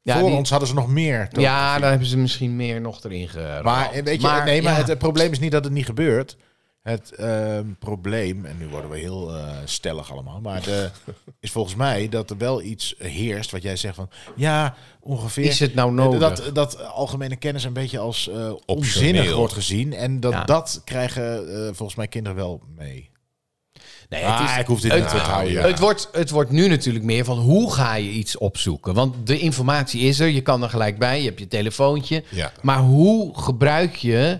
ja,
Voor
die-
ons hadden ze nog meer. toch?
Ja, daar hebben ze misschien meer nog erin geramd.
Maar, eh, weet je, nee, maar
ja.
het, eh, probleem is niet dat het niet gebeurt. Het ehm, probleem, en nu worden we heel eh, stellig allemaal, maar de, is volgens mij dat er wel iets heerst wat jij zegt van, ja, ongeveer.
is het nou
eh,
nodig?
dat, dat algemene kennis een beetje als eh, onzinnig wordt gezien. En dat,
Ja.
dat krijgen eh, volgens mij kinderen wel mee.
nee,
Ah,
het, is-
ik hoef dit
het-
niet te houden.
ja.
het wordt, het wordt nu natuurlijk meer van hoe ga je iets opzoeken? Want de informatie is er, je kan er gelijk bij, je hebt je telefoontje.
Ja.
Maar hoe gebruik je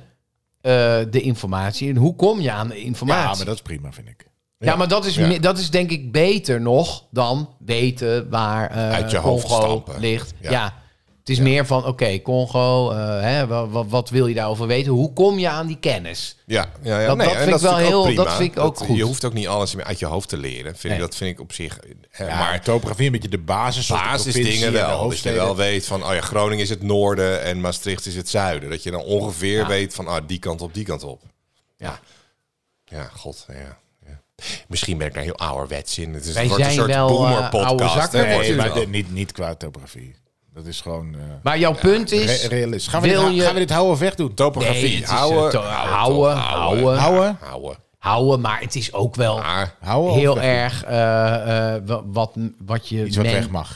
eh, de informatie en hoe kom je aan de informatie?
Ja, maar dat is prima, vind ik.
Ja, maar dat is,
Ja.
me- dat is denk ik beter nog dan weten waar eh,
Uit je hoofd
Congo
stampen.
ligt. Ja.
Ja.
Het is meer van, oké, Congo, eh, hè, wa- wa- wat, wil je daarover weten? Hoe kom je aan die kennis?
Ja, ja, ja.
Dat-
nee,
dat
en
vind ik wel
natuurlijk ook
heel- dat
prima.
vind ik ook goed.
Je hoeft ook niet alles meer uit je hoofd te leren. Vind ik, dat vind ik op zich. hè,
Ja, maar
maar
topografie een beetje de basis. zoals de provincie
basisdingen
en de
wel. Dat je
hoofdsteden.
wel weet van, oh ja, Groningen is het noorden en Maastricht is het zuiden. Dat je dan ongeveer weet van, ah, die kant op, die kant op.
Ja.
Ja, god, ja. ja. Misschien ben ik daar heel ouderwets in. Het is
Wij
het wordt een
zijn
soort
wel, eh, oude
boomer-podcast.
zakken
hè, wordt
Nee,
het
maar
wel.
dit- niet, niet qua topografie. Dat is gewoon... eh,
Maar jouw punt is...
Re- realist. Gaan we,
wil
dit, hou-
je-
gaan we dit houden of wegdouen?
Topografie,
Nee, het is, eh,
houden,
to- houden, houden.
Houden?
houden.
houden, maar het is ook wel
Maar,
Houden of
heel
oh,
wegdoen?
erg eh, eh, wa- wat, wat je...
Iets wat
men-
weg mag.
Ah.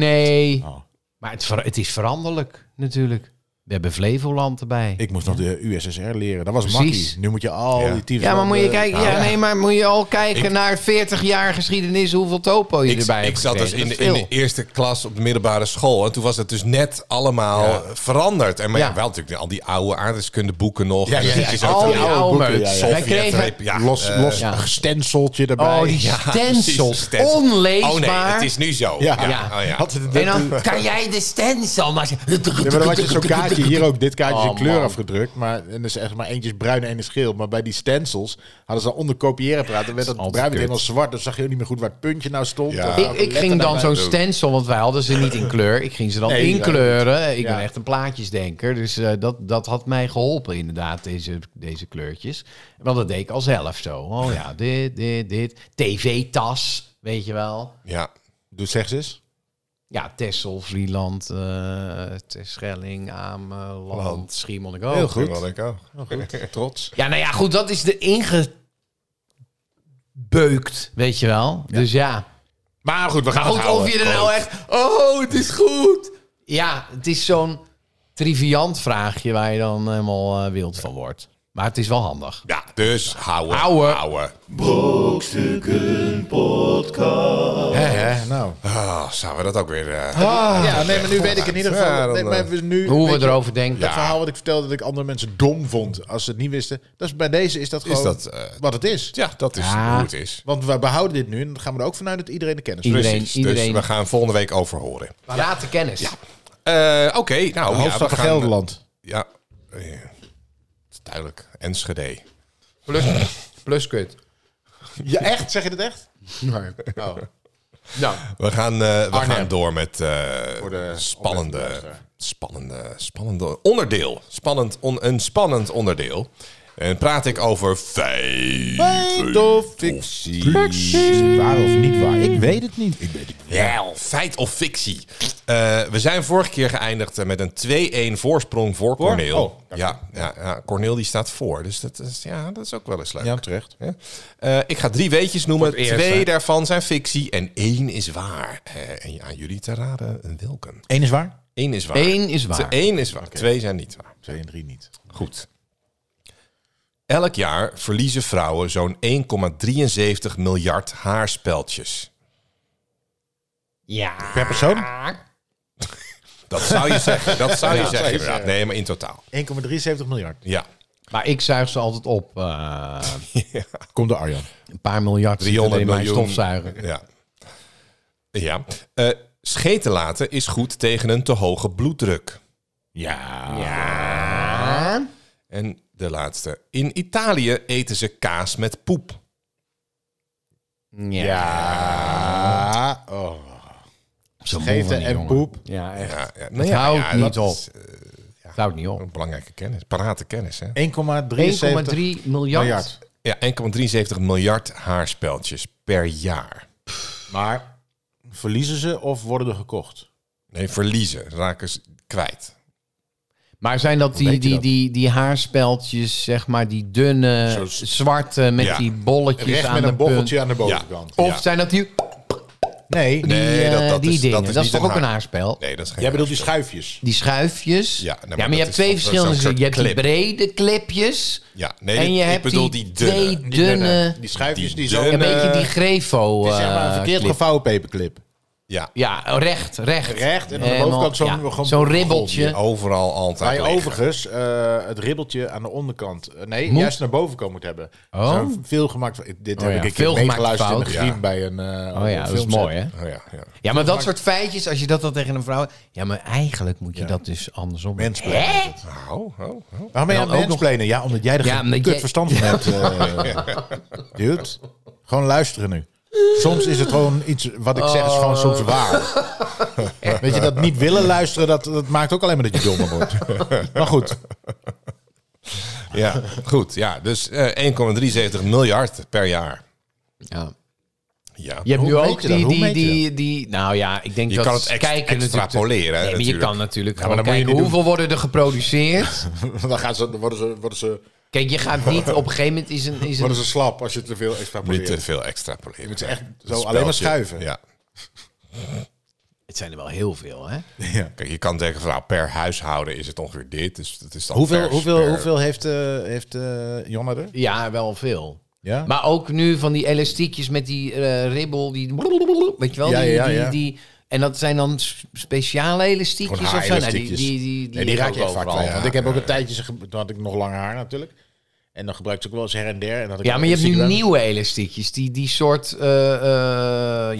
Nee,
Oh.
maar het, ver- het is veranderlijk natuurlijk. We hebben Flevoland erbij.
Ik moest nog de USSR leren. Dat was
Precies.
makkie. Nu moet je al
Ja.
die tyfus
Ja, maar moet je
landen-
kijken.
Nou,
Ja, nee, maar moet je al kijken naar 40 jaar geschiedenis hoeveel topo je
ik,
erbij
ik
hebt.
zat dus
gekregen.
in de,
Dat is
in de
veel.
eerste klas op de middelbare school. En toen was het dus net allemaal eh, veranderd. En maar
Ja.
ja, wel natuurlijk al die oude aardrijkskundeboeken nog. Dus
Ja,
En dan
ja,
zit je
ja,
zo
al
van,
die
ja,
oude
boeken,
meuk.
ja, ja.
Wij
Sovjet,
kregen-
reep- ja,
Los,
eh,
los
ja.
gestenseltje erbij.
Oh, die
precies,
stencils.
stencil.
Onleesbaar.
Oh nee, het is nu zo.
Ja.
Ja.
Oh, ja.
Altijd het-
En dan kan jij de stencil maar...
Ja, maar dan had je zo'n kaartje. Hier ook. Dit kaartje is
Oh,
in kleur
man.
afgedrukt. Maar, en er is echt maar eentje is bruin en één is geel. Maar bij die stencils hadden ze al onder kopiëren praten. Dan werd dat bruin werd helemaal zwart. Dan zag je ook niet meer goed waar het puntje nou stond.
Ja.
Of-
Ik, ik ging dan zo'n
Ook.
stencil, want wij hadden ze niet in kleur. Ik ging ze dan
Nee,
inkleuren. Ik ben
Ja.
echt een plaatjesdenker. Dus eh, dat, dat had mij geholpen inderdaad, deze, deze kleurtjes. Want dat deed ik al zelf zo. Oh ja, dit, dit, dit. TV-tas, weet je wel.
Ja.
Doe zeg eens eens.
Ja, Tessel, Vlieland, eh Terschelling, Ameland,
Land.
Schiermonnikoog.
Heel goed.
Wel leuk oh. ook.
Trots.
Ja, nou ja, goed, dat is de ingebeukt, weet je wel. Dus ja.
Maar goed, we gaan
Maar goed,
het houden.
of je er nou echt... Oh, het is goed. Ja, het is zo'n triviant vraagje waar je dan helemaal eh, wild van wordt. Maar het is wel handig.
Ja, dus houden.
Houden.
Houden.
Hè, hè, nou.
Ah, zouden we dat ook weer... eh,
Ah, ja, nee, maar nu weet ik in ieder geval...
Ja, dan,
nee, maar we nu,
Hoe
weet
we
je,
erover denken.
Dat verhaal wat ik vertelde dat ik andere mensen dom vond als ze het niet wisten. Dat is, bij deze is dat gewoon
dat, eh,
wat het is.
ja, dat is
Ja.
hoe het is.
Want we behouden dit nu en dan gaan we er ook vanuit dat iedereen de kennis heeft.
Iedereen,
Precies.
iedereen.
Dus we gaan volgende week over horen.
Raad de kennis.
Eh, Oké, nou... ja, we
Hoofdstad van
gaan-
Gelderland.
Ja. eh, Het is duidelijk. Enschede.
Plus, plus kut.
Ja, echt? Zeg je dat echt?
Nee.
Oh,
Nou,
We gaan, eh, we
Arnhem.
gaan door met eh,
de
spannende,
oplettende
spannende, spannende onderdeel. Spannend on, een spannend onderdeel. En praat ik over feit,
Feit of fictie. Is het waar of niet waar? Ik weet het niet. Ik weet het niet.
Wel, feit of fictie. Eh, we zijn vorige keer geëindigd eh, met een 2-1 voorsprong voor Corneel.
Oh,
ja, ja, ja, Corneel die staat voor. Dus dat is, ja, dat is ook wel eens leuk.
Ja, terecht.
Ja. Eh, ik ga drie weetjes noemen.
Voor het eerst,
Twee
hè?
daarvan zijn fictie en één is waar. Eh, en aan jullie te raden welke.
Eén is waar?
Eén is waar.
één is
Te-
waar.
één is waar. Twee zijn niet waar.
Twee en drie niet.
Goed. Elk jaar verliezen vrouwen zo'n 1,73 miljard haarspeldjes.
Ja.
Per persoon?
Dat zou je zeggen. Dat zou je zeggen. inderdaad. Nee, maar in totaal.
1,73 miljard.
Ja.
Maar ik zuig ze altijd op. eh,
Komt de Arjan.
een paar miljard zitten er
300
in mijn
miljoen.
stofzuiger.
Ja. Ja. Eh, scheten laten is goed tegen een te hoge bloeddruk.
Ja.
En de laatste. In Italië eten ze kaas met poep.
Ja.
Ja. Oh.
Zo'n
Scheten
monden,
en
jongen.
poep.
Ja, echt.
Ja, ja. Nou
Het
ja,
houdt
ja,
niet
dat
op.
is, eh,
Het houdt niet op.
een belangrijke kennis. Parate kennis, hè?
1,73
1,3 miljard.
miljard.
Ja, 1,73 miljard haarspeldjes per jaar.
Maar verliezen ze of worden er gekocht?
Nee, verliezen. Raken ze kwijt.
Maar zijn dat die,
weet je
die,
dat?
die, die haarspeldjes, zeg maar, die dunne,
Zo s-
zwarte met
Ja.
die bolletjes
Recht
aan
met
de
een bocheltje
punt?
aan de bovenkant.
Of
Ja.
zijn dat die,
Nee.
die,
Nee, dat-
eh,
dat
die
is-
dingen?
dat
Dat
is
is,
niet
toch
een
ook een
haar-
haarspel?
Nee, dat is geen
Jij bedoelt die schuifjes.
Die schuifjes.
Ja,
Ja,
nou, maar dat
maar, je
is
hebt twee
toch- dat is
verschillende.
zo'n
Je hebt die
clip.
brede clipjes.
Ja, nee,
en
dit-
je
ik
hebt
bedoel
die,
die dunne.
twee
Die
dunne.
Die schuifjes die,
Die
zo...
dunne-
Een beetje eh, die grefo.
eh, Het is zeg maar een
eh,
verkeerd
clip.
gevouwen paperclip.
Ja,
Ja, recht, recht.
Recht en aan de
Helemaal,
bovenkant zo'n...
ja,
gewoon-
zo'n ribbeltje.
die overal altijd
Waar je
liggen.
overigens eh, het ribbeltje aan de onderkant... eh, nee,
Moet?
juist naar boven komen moet hebben.
Oh.
Zo'n veel gemaakt... Dit heb
ja,
ik een keer
veel gemaakte
meegeluisterd in de
fout.
griem
Ja.
bij een eh,
Oh ja, dat is
filmset.
mooi, hè?
Oh, ja, ja.
Ja, maar dat soort feitjes, als je dat dan tegen een vrouw... Ja, maar eigenlijk moet je dat dus andersom...
Mensplay.
Hè?
Oh, oh, oh.
Waarom ben je
En
aan
dan
het
Nou, ook nog-
mansplainen? Ja, omdat jij er
Ja,
geen
omdat
kut
jij-
verstand van hebt. eh dude, gewoon luisteren nu. Soms is het gewoon iets, wat ik zeg, is gewoon
Oh.
soms waar. Weet je, dat niet willen luisteren, dat, dat maakt ook alleen maar dat je dommer wordt. maar goed,
Ja, goed. Ja, dus eh 1,73 miljard per jaar.
Ja.
Ja.
Je hebt
Hoe
nu
meet
ook
je dat?
die,
Hoe
die,
meet je
die, die... Nou ja, ik denk
Je
dat...
kan het ex-
kijken
extrapoleren, hè,
natuurlijk. Nee, maar je
natuurlijk.
kan natuurlijk
maar
gewoon
dat moet je
kijken
niet
hoeveel worden er geproduceerd.
dan gaan ze, dan worden, ze, worden, ze,
Kijk, je gaat niet... Op een gegeven moment is een... Is een
worden ze slap als je te veel extra
Niet te
probeert.
veel extrapoleren.
Je moet ze echt
Dat
zo
speltje.
alleen maar schuiven.
Ja.
het zijn er wel heel veel, hè?
Kijk, je kan zeggen, van, nou, per huishouden is het ongeveer dit. Dus het is dan
Hoeveel,
pers
hoeveel,
per-
hoeveel heeft, eh heeft eh, Jonna er?
Ja, wel veel.
Ja?
Maar ook nu van die elastiekjes met die eh, ribbel, die weet je wel,
Ja,
die,
ja,
die,
ja.
die en dat zijn dan s- speciale elastiekjes
Gewoon
of zo. Nou, die, die,
haarelastiekjes.
die, die,
Nee, die
liggen
raak je
ook
echt vaak
overal.
kwijt. Want ik heb ook een tijdje, ze ge- toen had ik nog lang haar natuurlijk. En dan gebruikte ik ook wel eens her en der. En had ik
Ja,
ook
maar je hebt nu
Instagram.
nieuwe elastiekjes, die, die soort, eh, eh,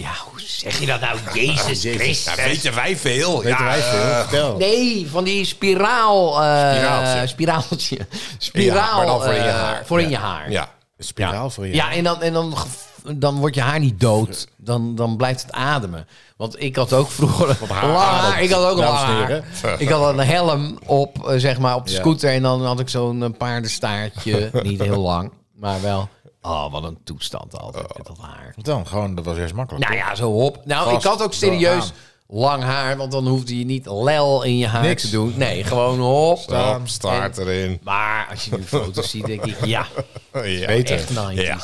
ja, hoe zeg je dat nou? Jezus
Ja,
Christus.
weten wij veel.
Weten
ja,
wij veel?
eh,
Vertel.
Nee, van die spiraal, eh,
Spiraaltje.
spiraaltje.
Ja, maar dan
Spiraal
voor in je
eh,
haar.
Voor in je haar.
Ja.
Spiraal voor je.
Ja, en dan, en dan, gev- dan wordt je haar niet dood. Dan, dan blijft het ademen. Want ik had ook vroeger lang haar. Ik had ook lang
dames en
haar.
heren.
Ik had een helm op, eh, zeg maar, op de
Ja.
scooter. En dan had ik zo'n eh, paardenstaartje. niet heel lang, maar wel. Oh, wat een toestand altijd met dat haar.
Wat dan? Gewoon, dat was eerst makkelijk.
Nou ja, zo hop. Nou,
Vast
ik had ook serieus lang haar. Want dan hoefde je niet lel in je haar
Niks.
te doen. Nee, gewoon hop.
Stap, staart erin.
Maar als je nu foto's ziet, denk ik, ja,
Oh,
Ja.
echt 90s.
Ja.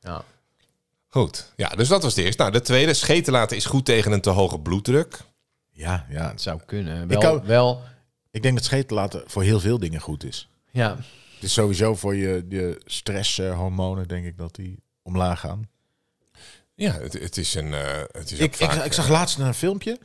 Ja.
Goed. Ja, dus dat was de eerste. Nou, de tweede. Scheten laten is goed tegen een te hoge bloeddruk.
Ja, ja.
Het zou kunnen. Wel,
kan-
wel
Ik denk dat scheten laten voor heel veel dingen goed is.
ja.
is sowieso voor je, je stresshormonen, denk ik, dat die omlaag gaan.
Ja, het, het is een... eh, het is ook
Ik, ik,
vaak,
ik zag laatst een filmpje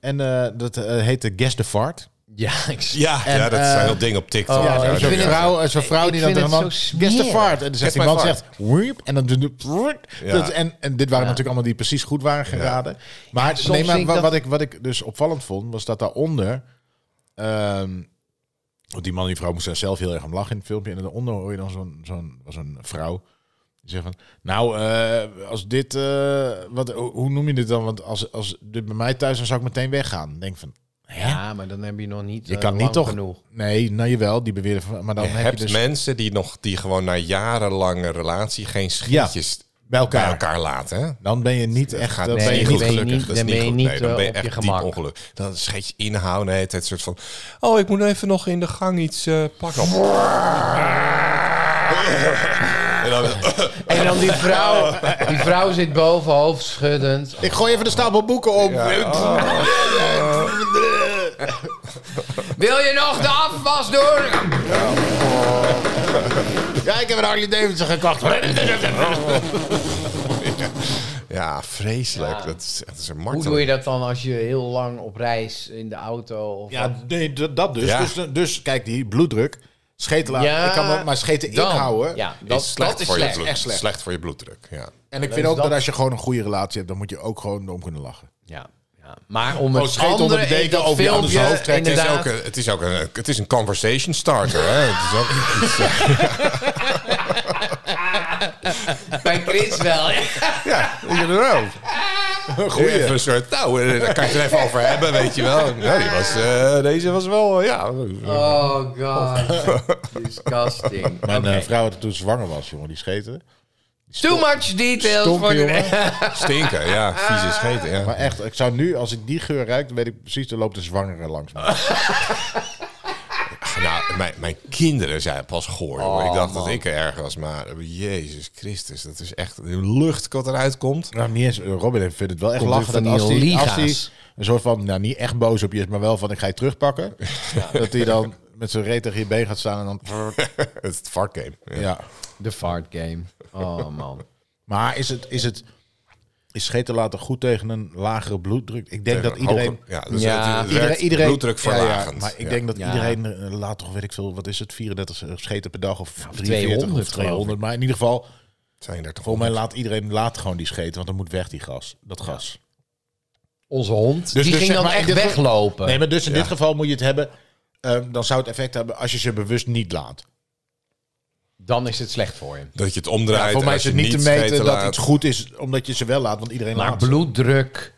en eh, dat eh, heette Guess the Fart.
Ja, ik zie.
ja, ja,
en,
dat zijn
eh,
heel ding op TikTok.
oh,
Ja, dus
Ja,
zo'n
ik vind
ja.
het-
vrouw, zo'n vrouw
ik
die dan
vind
tegen
het
man,
zo
guess the
smerig."
fart. En dan
Guess
zegt Dus die
my
man,
fart.
zegt, "Wiep." en dan doet het, "Wiep."
Ja.
Dat- en, en dit waren natuurlijk allemaal die precies goed waren geraden. Maar,
soms
nee,
zie
maar
ik
wa- wat,
dat-
ik, wat ik dus opvallend vond, was dat daaronder... ehm, want die man en die vrouw moesten er zelf heel erg om lachen in het filmpje. En daaronder hoor je dan zo'n zo'n was een vrouw die zegt van... Nou, eh, als dit... eh, wat, hoe hoe noem je dit dan? Want als, als dit bij mij thuis, dan zou ik meteen weggaan. Dan Denk ik van... Hè?
Ja, maar dan heb je nog niet.
Je
eh,
kan niet
lang
toch...
genoeg.
Nee, nou jawel, die beweren... van- Maar dan
Je
heb
hebt
je dus...
mensen die, nog, die gewoon na jarenlange relatie geen schietjes
bij elkaar.
bij elkaar laten. Hè?
Dan ben je niet echt.
gaat
dan
nee,
ben je
niet
dan
goed
niet
ben je
gelukkig. dat
niet-
is
dan
niet
ben je
goed.
niet,
nee, dan
eh,
ben je
op
echt
je
diep
gemak.
ongelukkig. Dan scheet je inhouden. Het, het soort van... Oh, ik moet even nog in de gang iets eh, plakken. en dan,
En dan die vrouw, die vrouw zit boven, hoofd schuddend.
Ik gooi even de stapel boeken op.
Wil je nog de afwas doen?
Ja, ik heb een Harley Davidson gekocht.
ja, vreselijk. Dat, is, dat is een
Hoe
marteling.
doe je dat dan als je heel lang op reis in de auto? Of wat?
Ja, nee, d- dat dus.
Ja.
dus. Dus kijk, die bloeddruk. Scheten laten.
Ja,
ik kan wel- maar scheten
dan.
inhouden.
Ja,
Is
dat,
slecht
dat is
voor
slecht.
je bloed,
echt slecht.
voor je bloeddruk. Ja.
En ik
Dus
vind ook dat
dat-
als je gewoon een goede relatie hebt, dan moet je ook gewoon om kunnen lachen.
Ja, ja. Maar om
Gewoon
het
Oh, scheet onder
andere
de deken
in dat
over je anders
filmpje,
hoofd trekken
Het is,
inderdaad.
ook een, het, is ook een, het is een conversation starter. Hè? Het is ook iets, eh,
Bij Chris wel.
ja, ik ook. Even een soort touw. eh, Daar kan je het even over hebben, weet je wel. Ja, die was, eh, deze was wel, eh, ja.
Oh god. Disgusting.
Mijn eh, vrouw die toen zwanger was, jongen, die scheten.
Too much details.
Stonk,
voor
jongen.
de...
Stinken, ja. Vieze scheten, ja.
Ah. Maar echt, ik zou nu, als ik die geur ruik, dan weet ik precies, er loopt een zwangere langs me.
Nou, mijn, mijn kinderen zijn pas goor. jongen.
Oh,
ik dacht dat ik er erg was, maar eh, Jezus Christus, dat is echt de lucht wat eruit komt.
Nou, niet eens. Robin vindt het wel echt
Komt
lachen
weer
dat
van
als
die
die, als die
liga's.
een soort van, nou niet echt boos op je is, maar wel van ik ga je terugpakken. Dat hij dan met zijn reet tegen je been gaat staan en dan...
het is het varkgame. Ja.
Ja.
De fart game. Oh man.
Maar is het, is het, is scheten laten goed tegen een lagere bloeddruk? Ik denk dat iedereen...
Hoger- ja, dus
Ja.
het- het
Iedereen,
werkt
iedereen
bloeddrukverlagend.
Ja, ja, maar ik
Ja.
denk dat
Ja.
iedereen eh, laat toch, weet ik veel, wat is het, 34 scheten per dag of 43
200
of 200.
geloof
Maar in ieder geval,
zijn er toch
volgens mij laat iedereen laat gewoon die scheten, want dan moet weg die gas, dat gas.
Onze hond.
Dus-
die
dus
ging
zeg
dan
maar in
echt
dit geval-
weglopen.
Nee, maar dus in
Ja.
dit geval moet je het hebben. ehm, dan zou het effect hebben als je ze bewust niet laat.
Dan is het slecht voor je.
dat je het
Ja,
omdraait.
voor mij
en
is
als
het
je
niet te
scheten
meten dat
laat-
iets goed is omdat je ze wel laat, want iedereen
Maar
laat. ze.
bloeddruk.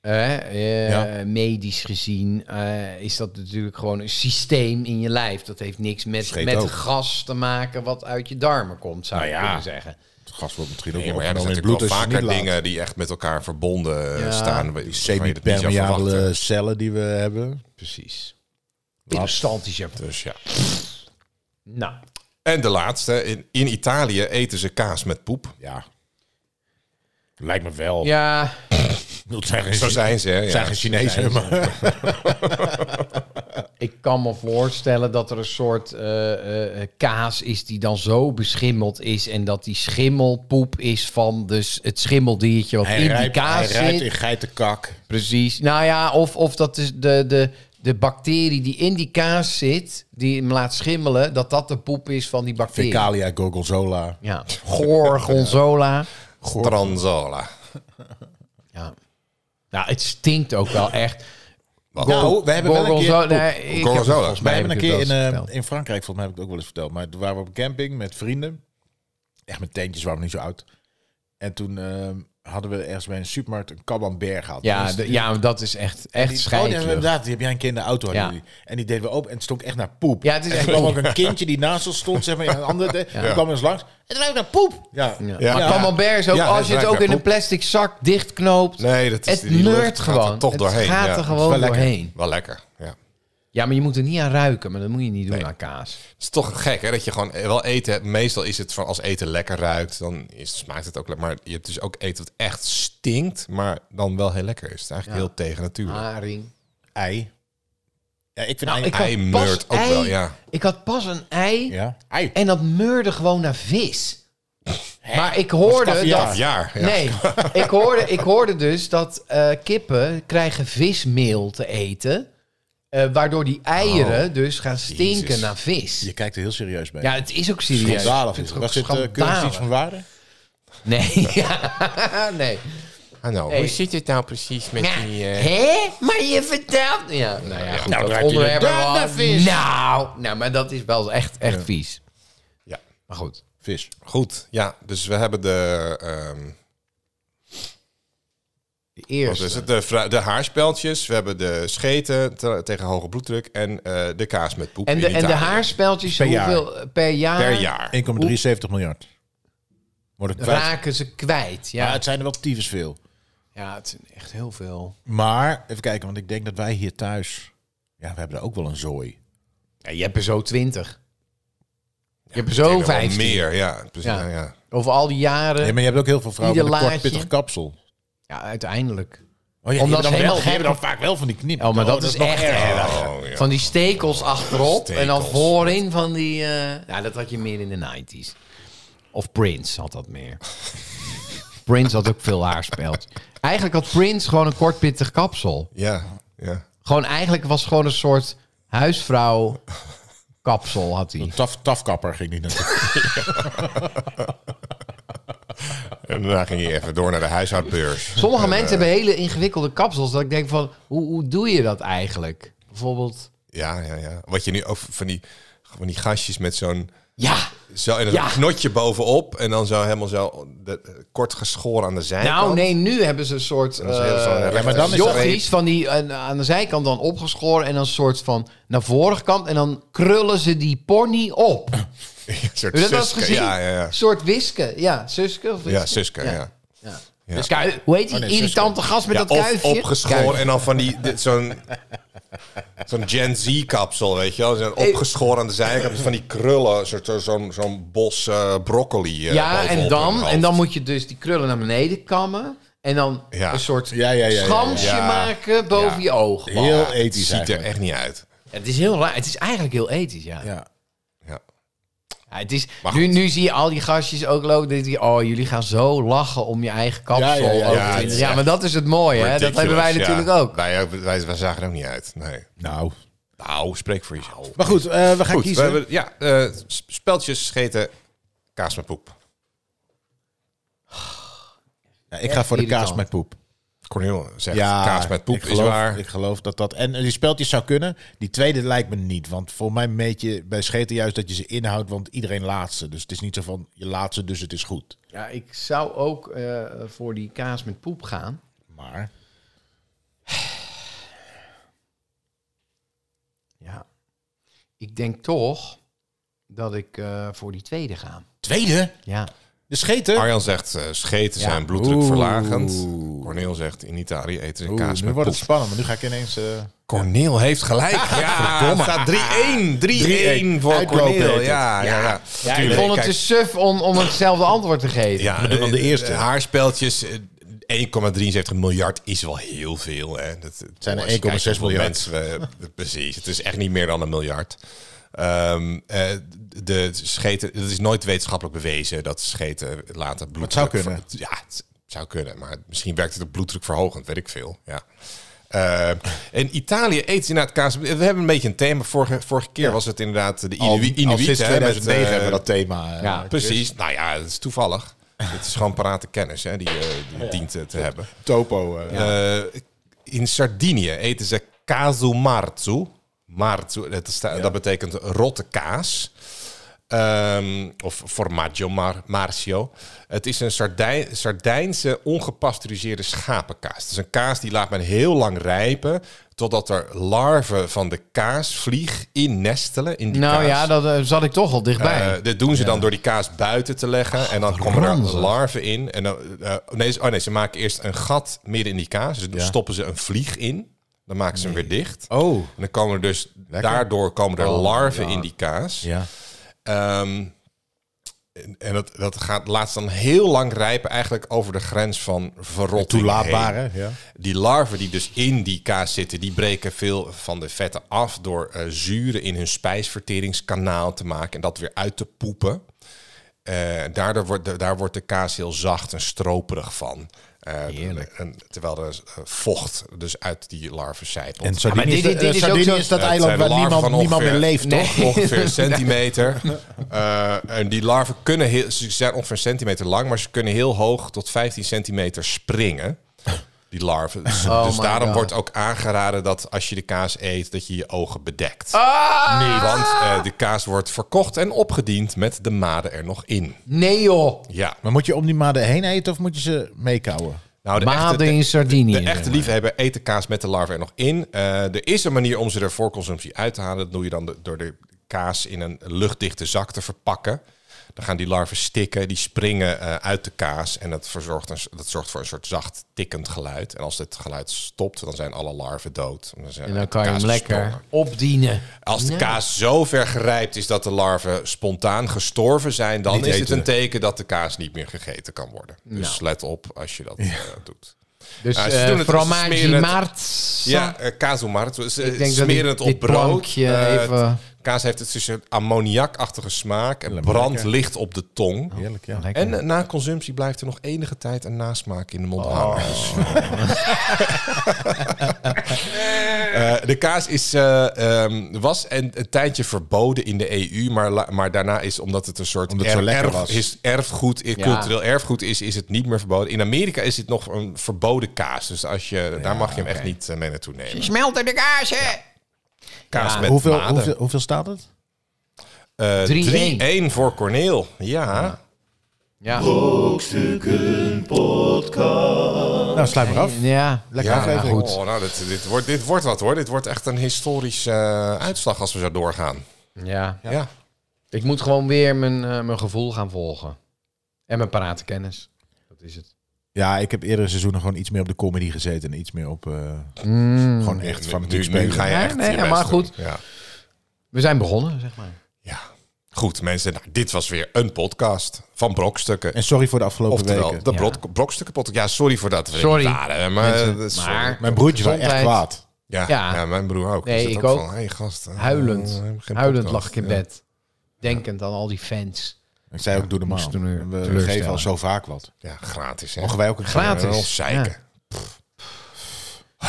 eh, eh,
Ja.
Medisch gezien eh, is dat natuurlijk gewoon een systeem in je lijf. Dat heeft niks met,
Scheet
met
ook.
gas te maken wat uit je darmen komt, zou
Nou
je
ja.
kunnen zeggen.
Het gas wordt misschien ook
Nee, maar ja,
opgenomen
er zijn
in bloed
natuurlijk wel
als je
vaker
niet
dingen
laat.
die echt met elkaar verbonden eh,
Ja.
staan. wa-
Die
waarvan je dat niet zou verwachten.
semi-permeabele cellen die we hebben.
Precies. Peristaltische.
Eh,
Dus ja.
Nou,
En de laatste. In, in Italië eten ze kaas met poep.
Ja. Lijkt me wel.
ja,
Dat zijn geen,
Zo
zijn,
zijn ze, hè? Ja.
geen Chinezen. maar-
ik kan me voorstellen dat er een soort eh, eh, eh, kaas is die dan zo beschimmeld is. En dat die schimmelpoep is van dus het schimmeldiertje wat in die
rijdt-
kaas
hij rijdt
zit.
in geitenkak.
Precies. Nou ja, of, of dat is de, de, de bacterie die in die kaas zit, die hem laat schimmelen, dat dat de poep is van die bacterie.
Fecalia, gorgonzola.
Ja. Goor, gonzola.
Transola.
Ja. Nou, het stinkt ook wel echt.
Wat?
Nou, we hebben wel een keer...
Gorgonzola- nee, ik heb het
Gorgonzola.
volgens mij
Wij hebben een
heb ik
keer
het wel eens
in, eh,
verteld.
in Frankrijk, volgens mij heb ik het ook wel eens verteld. Maar toen waren we op een camping met vrienden. Echt met tentjes, waren we niet zo oud. En toen ehm, hadden we ergens bij een supermarkt een camembert gehad.
ja,
Dus
de-
die-
ja, dat is echt, echt
die- oh, nee,
schijnlijk.
inderdaad, die heb jij een keer in de auto. hadden
Ja.
jullie. En die deden we open en het stonk echt naar poep.
Ja, het is
en
echt
er kwam
poep.
ook een kindje die naast ons stond, zeg maar, in een andere... tent. Die kwam eens langs. Het ruikt naar poep. Ja.
Ja.
Ja.
Maar camembert is ook,
Ja,
als
het
je het
ruikt
ook
naar
in een
poep.
plastic zak dichtknoopt,
Nee, dat is
het
die lucht
neurt
gaat er
gewoon.
toch
het
doorheen,
gaat
ja.
er gewoon
lekker.
doorheen.
Wel lekker. Ja.
Ja, maar je moet er niet aan ruiken, maar dat moet je niet doen aan kaas.
Het is toch gek, hè? Dat je gewoon eh, wel eten hebt. Meestal is het van als eten lekker ruikt, dan is, smaakt het ook lekker. Maar je hebt dus ook eten wat echt
Ah.
stinkt, maar dan wel heel lekker is. Het is eigenlijk heel tegen natuur.
Haring.
Ei. Ja, ik vind
Nou, ik
eigenlijk...
had
Ei
pas
meurt ook wel,
ei-
ja.
Ik had pas een ei
Ja. Ei.
en dat meurde gewoon naar vis. Maar ik hoorde dat...
kaviaar.
Jaar. Ja.
Nee, ik hoorde, ik hoorde dus dat eh, kippen krijgen vismeel te eten. eh, waardoor die eieren dus gaan stinken
Jezus.
naar vis.
Je kijkt er heel serieus bij.
Ja, het is ook serieus.
Schandalig.
Ik vind het
is het.
ook
Was dit eh,
schandalig.
keurig iets van waarde?
Nee, ja, nee.
Ah, nou,
Hey.
Hoe zit het nou precies met
Ja,
die... eh,
Hè? Maar je vertelt... Ja, nou ja, goed,
Nou,
dat
draait hij
onderwerp
de
hebben we al-
duivenvis.
Nou, nou, maar dat is wel echt, echt vies.
Ja.
Maar goed.
Vis.
Goed, ja. Dus we hebben de... ehm,
De
wat
eerste.
is het? De, vra- de haarspeltjes. We hebben de scheten te- tegen hoge bloeddruk. En eh, de kaas met poep
En de,
in
en de
Italië.
haarspeltjes,
Per jaar.
hoeveel eh, per jaar,
Per jaar.
1,73 miljard. Worden kwijt.
raken ze kwijt? Ja,
Maar het zijn er wel tyfus veel.
ja het zijn echt heel veel.
Maar, even kijken, want ik denk dat wij hier thuis... Ja, we hebben er ook wel een
Eh,
zooi.
Ja, je hebt er zo twintig. Je hebt er
Ik denk
zo
nog wel
vijftien.
meer, ja. Precies,
Ja.
ja. ja.
Over al die jaren.
Ja,
Ja,
maar je hebt ook heel veel vrouwen
Ieder
met een kort
laadje.
pittig kapsel.
uiteindelijk.
Oh, ja,
Omdat
Omdat
ze
dan wel,
helemaal
die
gek-
hebben dan vaak wel van die knip.
Oh, maar dat, is
nog
echt
erger.
erg.
Oh, ja.
Van die stekels achterop en dan
Stekels.
voorin van die... eh ja, dat had je meer in de 90s. Of Prince had dat meer. Prince had ook veel haarspeld. Eigenlijk had Prince gewoon een kort pittig kapsel.
Ja, ja.
Gewoon eigenlijk was gewoon een soort huisvrouw kapsel had hij.
Een taf, tafkapper ging niet naartoe.
En daarna ging je even door naar de huishoudbeurs.
Sommige mensen hebben hele ingewikkelde kapsels. Dat ik denk van, hoe, hoe doe je dat eigenlijk? Bijvoorbeeld...
Ja, ja, ja. Wat je nu ook van die, van die gastjes met zo'n...
Ja,
Zo, en dan
Ja.
zo'n knotje bovenop en dan zo helemaal zo de, eh, kort geschoren aan de zijkant.
Nou, nee, nu hebben ze een soort
Dat is heel
eh,
zo'n rechte
maar dan is
streep.
jochies van die eh, aan de zijkant dan opgeschoren en dan een soort van naar voren gekant en dan krullen ze die pony op. Heb
Een soort
je dat wel eens
Suske,
gezien?
Ja, ja, ja.
Een soort wiske, ja, suske of
Ja, Suske, ja. ja.
Ja. Dus kijk, hoe heet die
Oh, nee,
irritante gast met dat
of
kuifje?
opgeschoren
Kuif.
en dan van die, dit- zo'n zo'n Gen Z-kapsel, weet je wel. Zo'n opgeschoren aan de zijkant, dus van die krullen, een soort- zo- zo'n zo'n bos eh, broccoli eh,
Ja,
bovenop
en
hun
dan,
hoofd.
en dan moet je dus die krullen naar beneden kammen en dan
Ja.
een soort
Ja, ja, ja, ja, ja.
schansje
Ja.
maken boven
Ja.
je ogen.
Heel
Ja,
ethisch
ziet er
eigenlijk.
echt niet uit.
Het is heel raar. Het is eigenlijk heel ethisch, ja.
Ja.
Ja.
Ja, het is,
Maar
nu,
goed.
nu zie je al die gastjes ook lopen. dat die- Oh, jullie gaan zo lachen om je eigen kapsel.
Ja, ja, ja,
over
ja,
te
het
winnen.
is
ja, maar dat is het mooie. Hè? Dat
Ridiculous,
hebben wij
ja.
natuurlijk ook.
Wij, wij, wij zagen er ook niet uit, nee.
Nou.
Nou, spreek voor jezelf.
Maar goed, eh, we gaan
Goed, we
kiezen.
hebben, ja, eh, s- speltjes, scheten, kaas met poep.
Ja, ik ga voor de kaas
irritant.
met poep.
Cornel zegt kaas met poep
ik
is
geloof,
waar.
Ik geloof dat dat... En die speltjes zou kunnen. Die tweede lijkt me niet. Want voor mij meet je bij scheten juist dat je ze inhoudt. Want iedereen laat ze. Dus het is niet zo van je laat ze, dus het is goed.
Ja, ik zou ook eh, voor die kaas met poep gaan.
Maar
Ja. Ik denk toch dat ik eh, voor die tweede ga.
tweede?
Ja.
De scheten?
Arjan zegt eh, scheten
Ja.
zijn bloeddrukverlagend.
Oeh.
Corneel zegt in Italië eten ze
Oeh,
kaas met
nu
poep.
wordt het spannend. Maar nu ga ik ineens... eh,
Corneel heeft gelijk. Ja, het staat 3-1. 3-1 voor
Uitloop heet
Corneel.
het.
Ja, ja, ja.
ik
Tuurlijk,
vond het dus
kijk,
te suf om, om hetzelfde antwoord te geven.
ja,
We doen dan de
eh,
eerste.
Haarspeltjes, eh, 1,73 miljard is wel heel veel. Hè. Dat, eh, het
zijn er 1,6 miljard.
Mensen, we- precies, het is echt niet meer dan een miljard. Ehm, eh, de scheten, het is nooit wetenschappelijk bewezen dat scheten later bloeddruk...
zou kunnen.
Ja, het zou kunnen, maar misschien werkt het op bloeddrukverhogend, weet ik veel. Ja. Eh, in Italië eet ze inderdaad kaas. We hebben een beetje een thema. Vorige, vorige keer was het inderdaad de
al-
Inuit.
al sinds
Inuit, hè, met,
2009
eh,
hebben we dat thema. eh,
Ja.
Precies. Nou ja, dat is toevallig. Het is gewoon parate kennis hè, die, eh, die dient eh, te hebben.
Topo. eh,
Eh, in Sardinië eten ze casu marzu. Marzu, dat, is- dat betekent rotte kaas. Ehm, of formaggio mar, marcio. Het is een Sardij, Sardijnse ongepasteuriseerde schapenkaas. Het is een kaas die laat men heel lang rijpen... totdat er larven van de kaasvlieg innestelen in die
Nou
kaas.
ja, dat eh, zat ik toch al dichtbij.
Eh, dit doen ze dan door die kaas buiten te leggen. En dan komen er
ranzig.
larven in. En dan, eh, nee, ze- oh nee, ze maken eerst een gat midden in die kaas. Dus dan stoppen ze een vlieg in. Dan maken ze hem weer dicht.
Oh.
En dan komen er dus, daardoor komen er larven in die kaas.
Ja.
Ehm, En, en dat, dat gaat laatst dan heel lang rijpen, eigenlijk over de grens van verrotting. heen.
Toelaatbare, ja.
Die larven die dus in die kaas zitten, die breken veel van de vetten af door eh, zuren in hun spijsverteringskanaal te maken en dat weer uit te poepen. Eh, daardoor wordt de, daar wordt de kaas heel zacht en stroperig van. Eh, en, terwijl er eh, vocht dus uit die larven zijpelt.
En Sardinië is,
dit- dit
eh,
is ook
Sardinië
zo-
is dat
Het
eiland
zijn
waar
larven
niemand,
van
niemand meer
ongeveer-
leeft, toch?
Ongeveer een centimeter. Eh, en die larven kunnen heel, ze zijn ongeveer een centimeter lang, maar ze kunnen heel hoog tot 15 centimeter springen. Die larven. Dus, dus
my
daarom
God.
wordt ook aangeraden dat als je de kaas eet, dat je je ogen bedekt.
Ah!
Nee, want eh, de kaas wordt verkocht en opgediend met de maden er nog in.
Nee joh.
Ja.
Maar moet je om die maden heen eten of moet je ze meekouwen?
Nou, de
Maden
echte-
in Sardinië.
De echte liefhebber eet de kaas met de larven er nog in. Eh, er is een manier om ze er voor consumptie uit te halen. Dat doe je dan de- door de kaas in een luchtdichte zak te verpakken. Dan gaan die larven stikken, die springen eh, uit de kaas. En dat, verzorgt een, dat zorgt voor een soort zacht tikkend geluid. En als dit geluid stopt, dan zijn alle larven dood. Dan zijn
En
uit
dan
de
kan je
kaas
hem lekker
gesprongen.
opdienen.
Als de
Ja.
kaas zo ver gerijpt is dat de larven spontaan gestorven zijn... dan
Niet
is het
eten.
een teken dat de kaas niet meer gegeten kan worden. Dus
Nou.
let op als je dat eh, doet.
Dus
Ja, ze
eh
doen het, ze
fromage
smeren het-
maart.
Ja, eh kaas omart. Ze
Ik denk dat
smeren
dit-
het
dit
op brood.
plankje
Eh, het-
even-
Kaas heeft het tussen ammoniakachtige smaak en brandt licht op de tong.
Oh, Heerlijk, ja.
En eh, na consumptie blijft er nog enige tijd een nasmaak in de
Oh.
mond hangen. Dus- Eh, de kaas is, eh, ehm, was een, een tijdje verboden in de EU, maar, la- maar daarna is, omdat het een soort
Omdat het zo lekker was.
is erfgoed, eh, cultureel erfgoed is, is het niet meer verboden. In Amerika is het nog een verboden kaas, dus als je, daar mag je hem echt niet eh, mee naartoe nemen.
Smelten de kazen.
Kaas met
Hoeveel,
Eh, maden.
hoeveel, hoeveel staat het?
Eh,
3-1.
3-1 voor Corneel. Ja.
Ja.
Nou, sluit maar af.
ja.
Lekker aflevering.
goed. Oh, nou, dit, dit, wordt, dit wordt wat hoor. Dit wordt echt een historische eh, uitslag als we zo doorgaan.
Ja.
Ja.
Ik moet gewoon weer mijn, eh, mijn gevoel gaan volgen. En mijn parate kennis. Dat is het.
Ja, ik heb eerdere seizoenen gewoon iets meer op de comedy gezeten en iets meer op
Hmm.
eh,
Mm.
gewoon echt
Nu-
van
nu, nu ga je
Ja,
echt
nee,
je
ja,
best
maar
doen.
goed.
Ja.
We zijn begonnen, zeg maar.
ja. Goed mensen, nou, dit was weer een podcast van Brokstukken.
En sorry voor de afgelopen
Oftewel,
weken.
de
Ja.
Brok- Brokstukken podcast. Ja, sorry voor dat we er
Sorry.
niet waren. Maar,
Mensen,
eh, sorry.
maar-
Mijn broertje was echt
Gezondheid.
kwaad.
ja, ja.
Ja.
mijn broer ook.
Nee,
Die zit
ik ook.
van, hey, gast, eh, eh,
Huilend.
geen podcast.
Huilend lag ik in
Ja.
bed. Denkend aan al die fans.
Ik zei ook, doe normaal.
moest toen weer
We- We
teleurstellen.
geven al zo vaak wat.
Ja, gratis. Hè?
Mogen wij ook een keer- eh,
Gratis.
Ja, ons zeiken.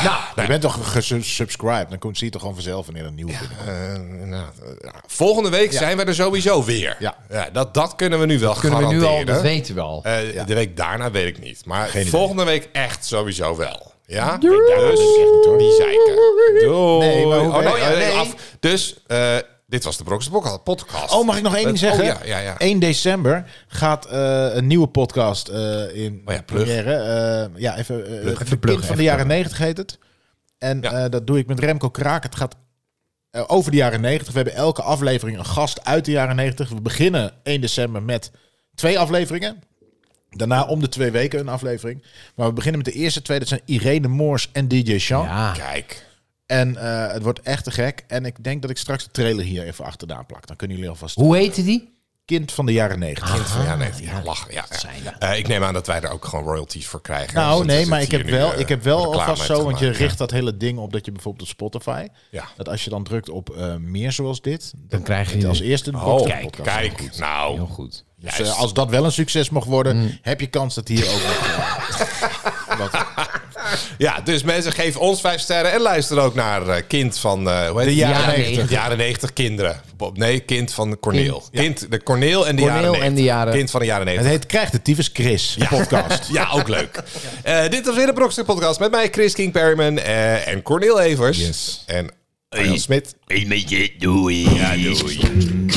Nou,
Je bent toch gesubscribed? Dan kun- zie je toch gewoon vanzelf wanneer er een nieuwe binnenkomt.
Eh, inderdaad. Ja, volgende week zijn we er sowieso weer.
Ja.
dat, dat kunnen we nu wel
Kunnen we nu
garanderen.
al, dat weten we al.
Eh, De week daarna weet ik niet. Maar
idee.
volgende week echt sowieso wel. Ja? Dus die zeiken. Doei.
Nee, maar hoe-
oh, nee,
oh, ja,
nee,
nee.
af. Dus eh, dit was de Brokse podcast.
Oh, mag ik nog één ding
Het-
zeggen?
Oh, ja, ja, ja.
1 december gaat eh, een nieuwe podcast eh, in
Oh ja, plug.
première. Eh, ja, even, eh,
Plug.
het
Even plug,
kind van
even
de jaren 90 heet het. En
Ja.
eh, dat doe ik met Remco Kraak. Het gaat eh, over de jaren 90. We hebben elke aflevering een gast uit de jaren 90. We beginnen 1 december met twee afleveringen. Daarna om de twee weken een aflevering. Maar we beginnen met de eerste twee. Dat zijn Irene Moors en DJ Sean.
Ja.
Kijk.
En eh, het wordt echt te gek. En ik denk dat ik straks de trailer hier even achteraan plak. Dan kunnen jullie alvast...
Hoe heette die?
Kind van de jaren 90.
Kind van, ja, nee, ja, lachen. Ja, ja. Eh, ik neem aan dat wij er ook gewoon royalties voor krijgen.
Nou,
Want het
nee,
is
maar
het
ik heb,
hier nu,
wel,
eh,
ik heb wel
reclame
alvast
heeft
zo, want je
gemaakt.
richt dat hele ding op dat je bijvoorbeeld op Spotify,
Ja.
dat als je dan drukt op eh, meer zoals dit, dan,
krijg je
zit als
dit.
eerste de
Oh,
Boxer
kijk,
podcast.
kijk. Nou,
Heel goed.
Dus, eh, als dat wel een succes mocht worden, heb je kans dat hier ook nog...
Ja, dus mensen, geef ons vijf sterren en luister ook naar eh, Kind van... eh, hoe heet
De
het?
jaren
jaren
90.
De jaren 90 kinderen. Bob- Nee, Kind van Corneel. Kind, de Corneel en de
Corneel
jaren 90.
en de jaren-
Kind van de jaren
Het
90.
heet Krijg de tyfus Chris, een podcast.
Ja, ook leuk. Eh, dit was weer de Brokstuk Podcast met mij, Chris King Perryman eh, en Corneel Evers.
Yes.
En Arjan Smit.
Een beetje doei. Ja, doei.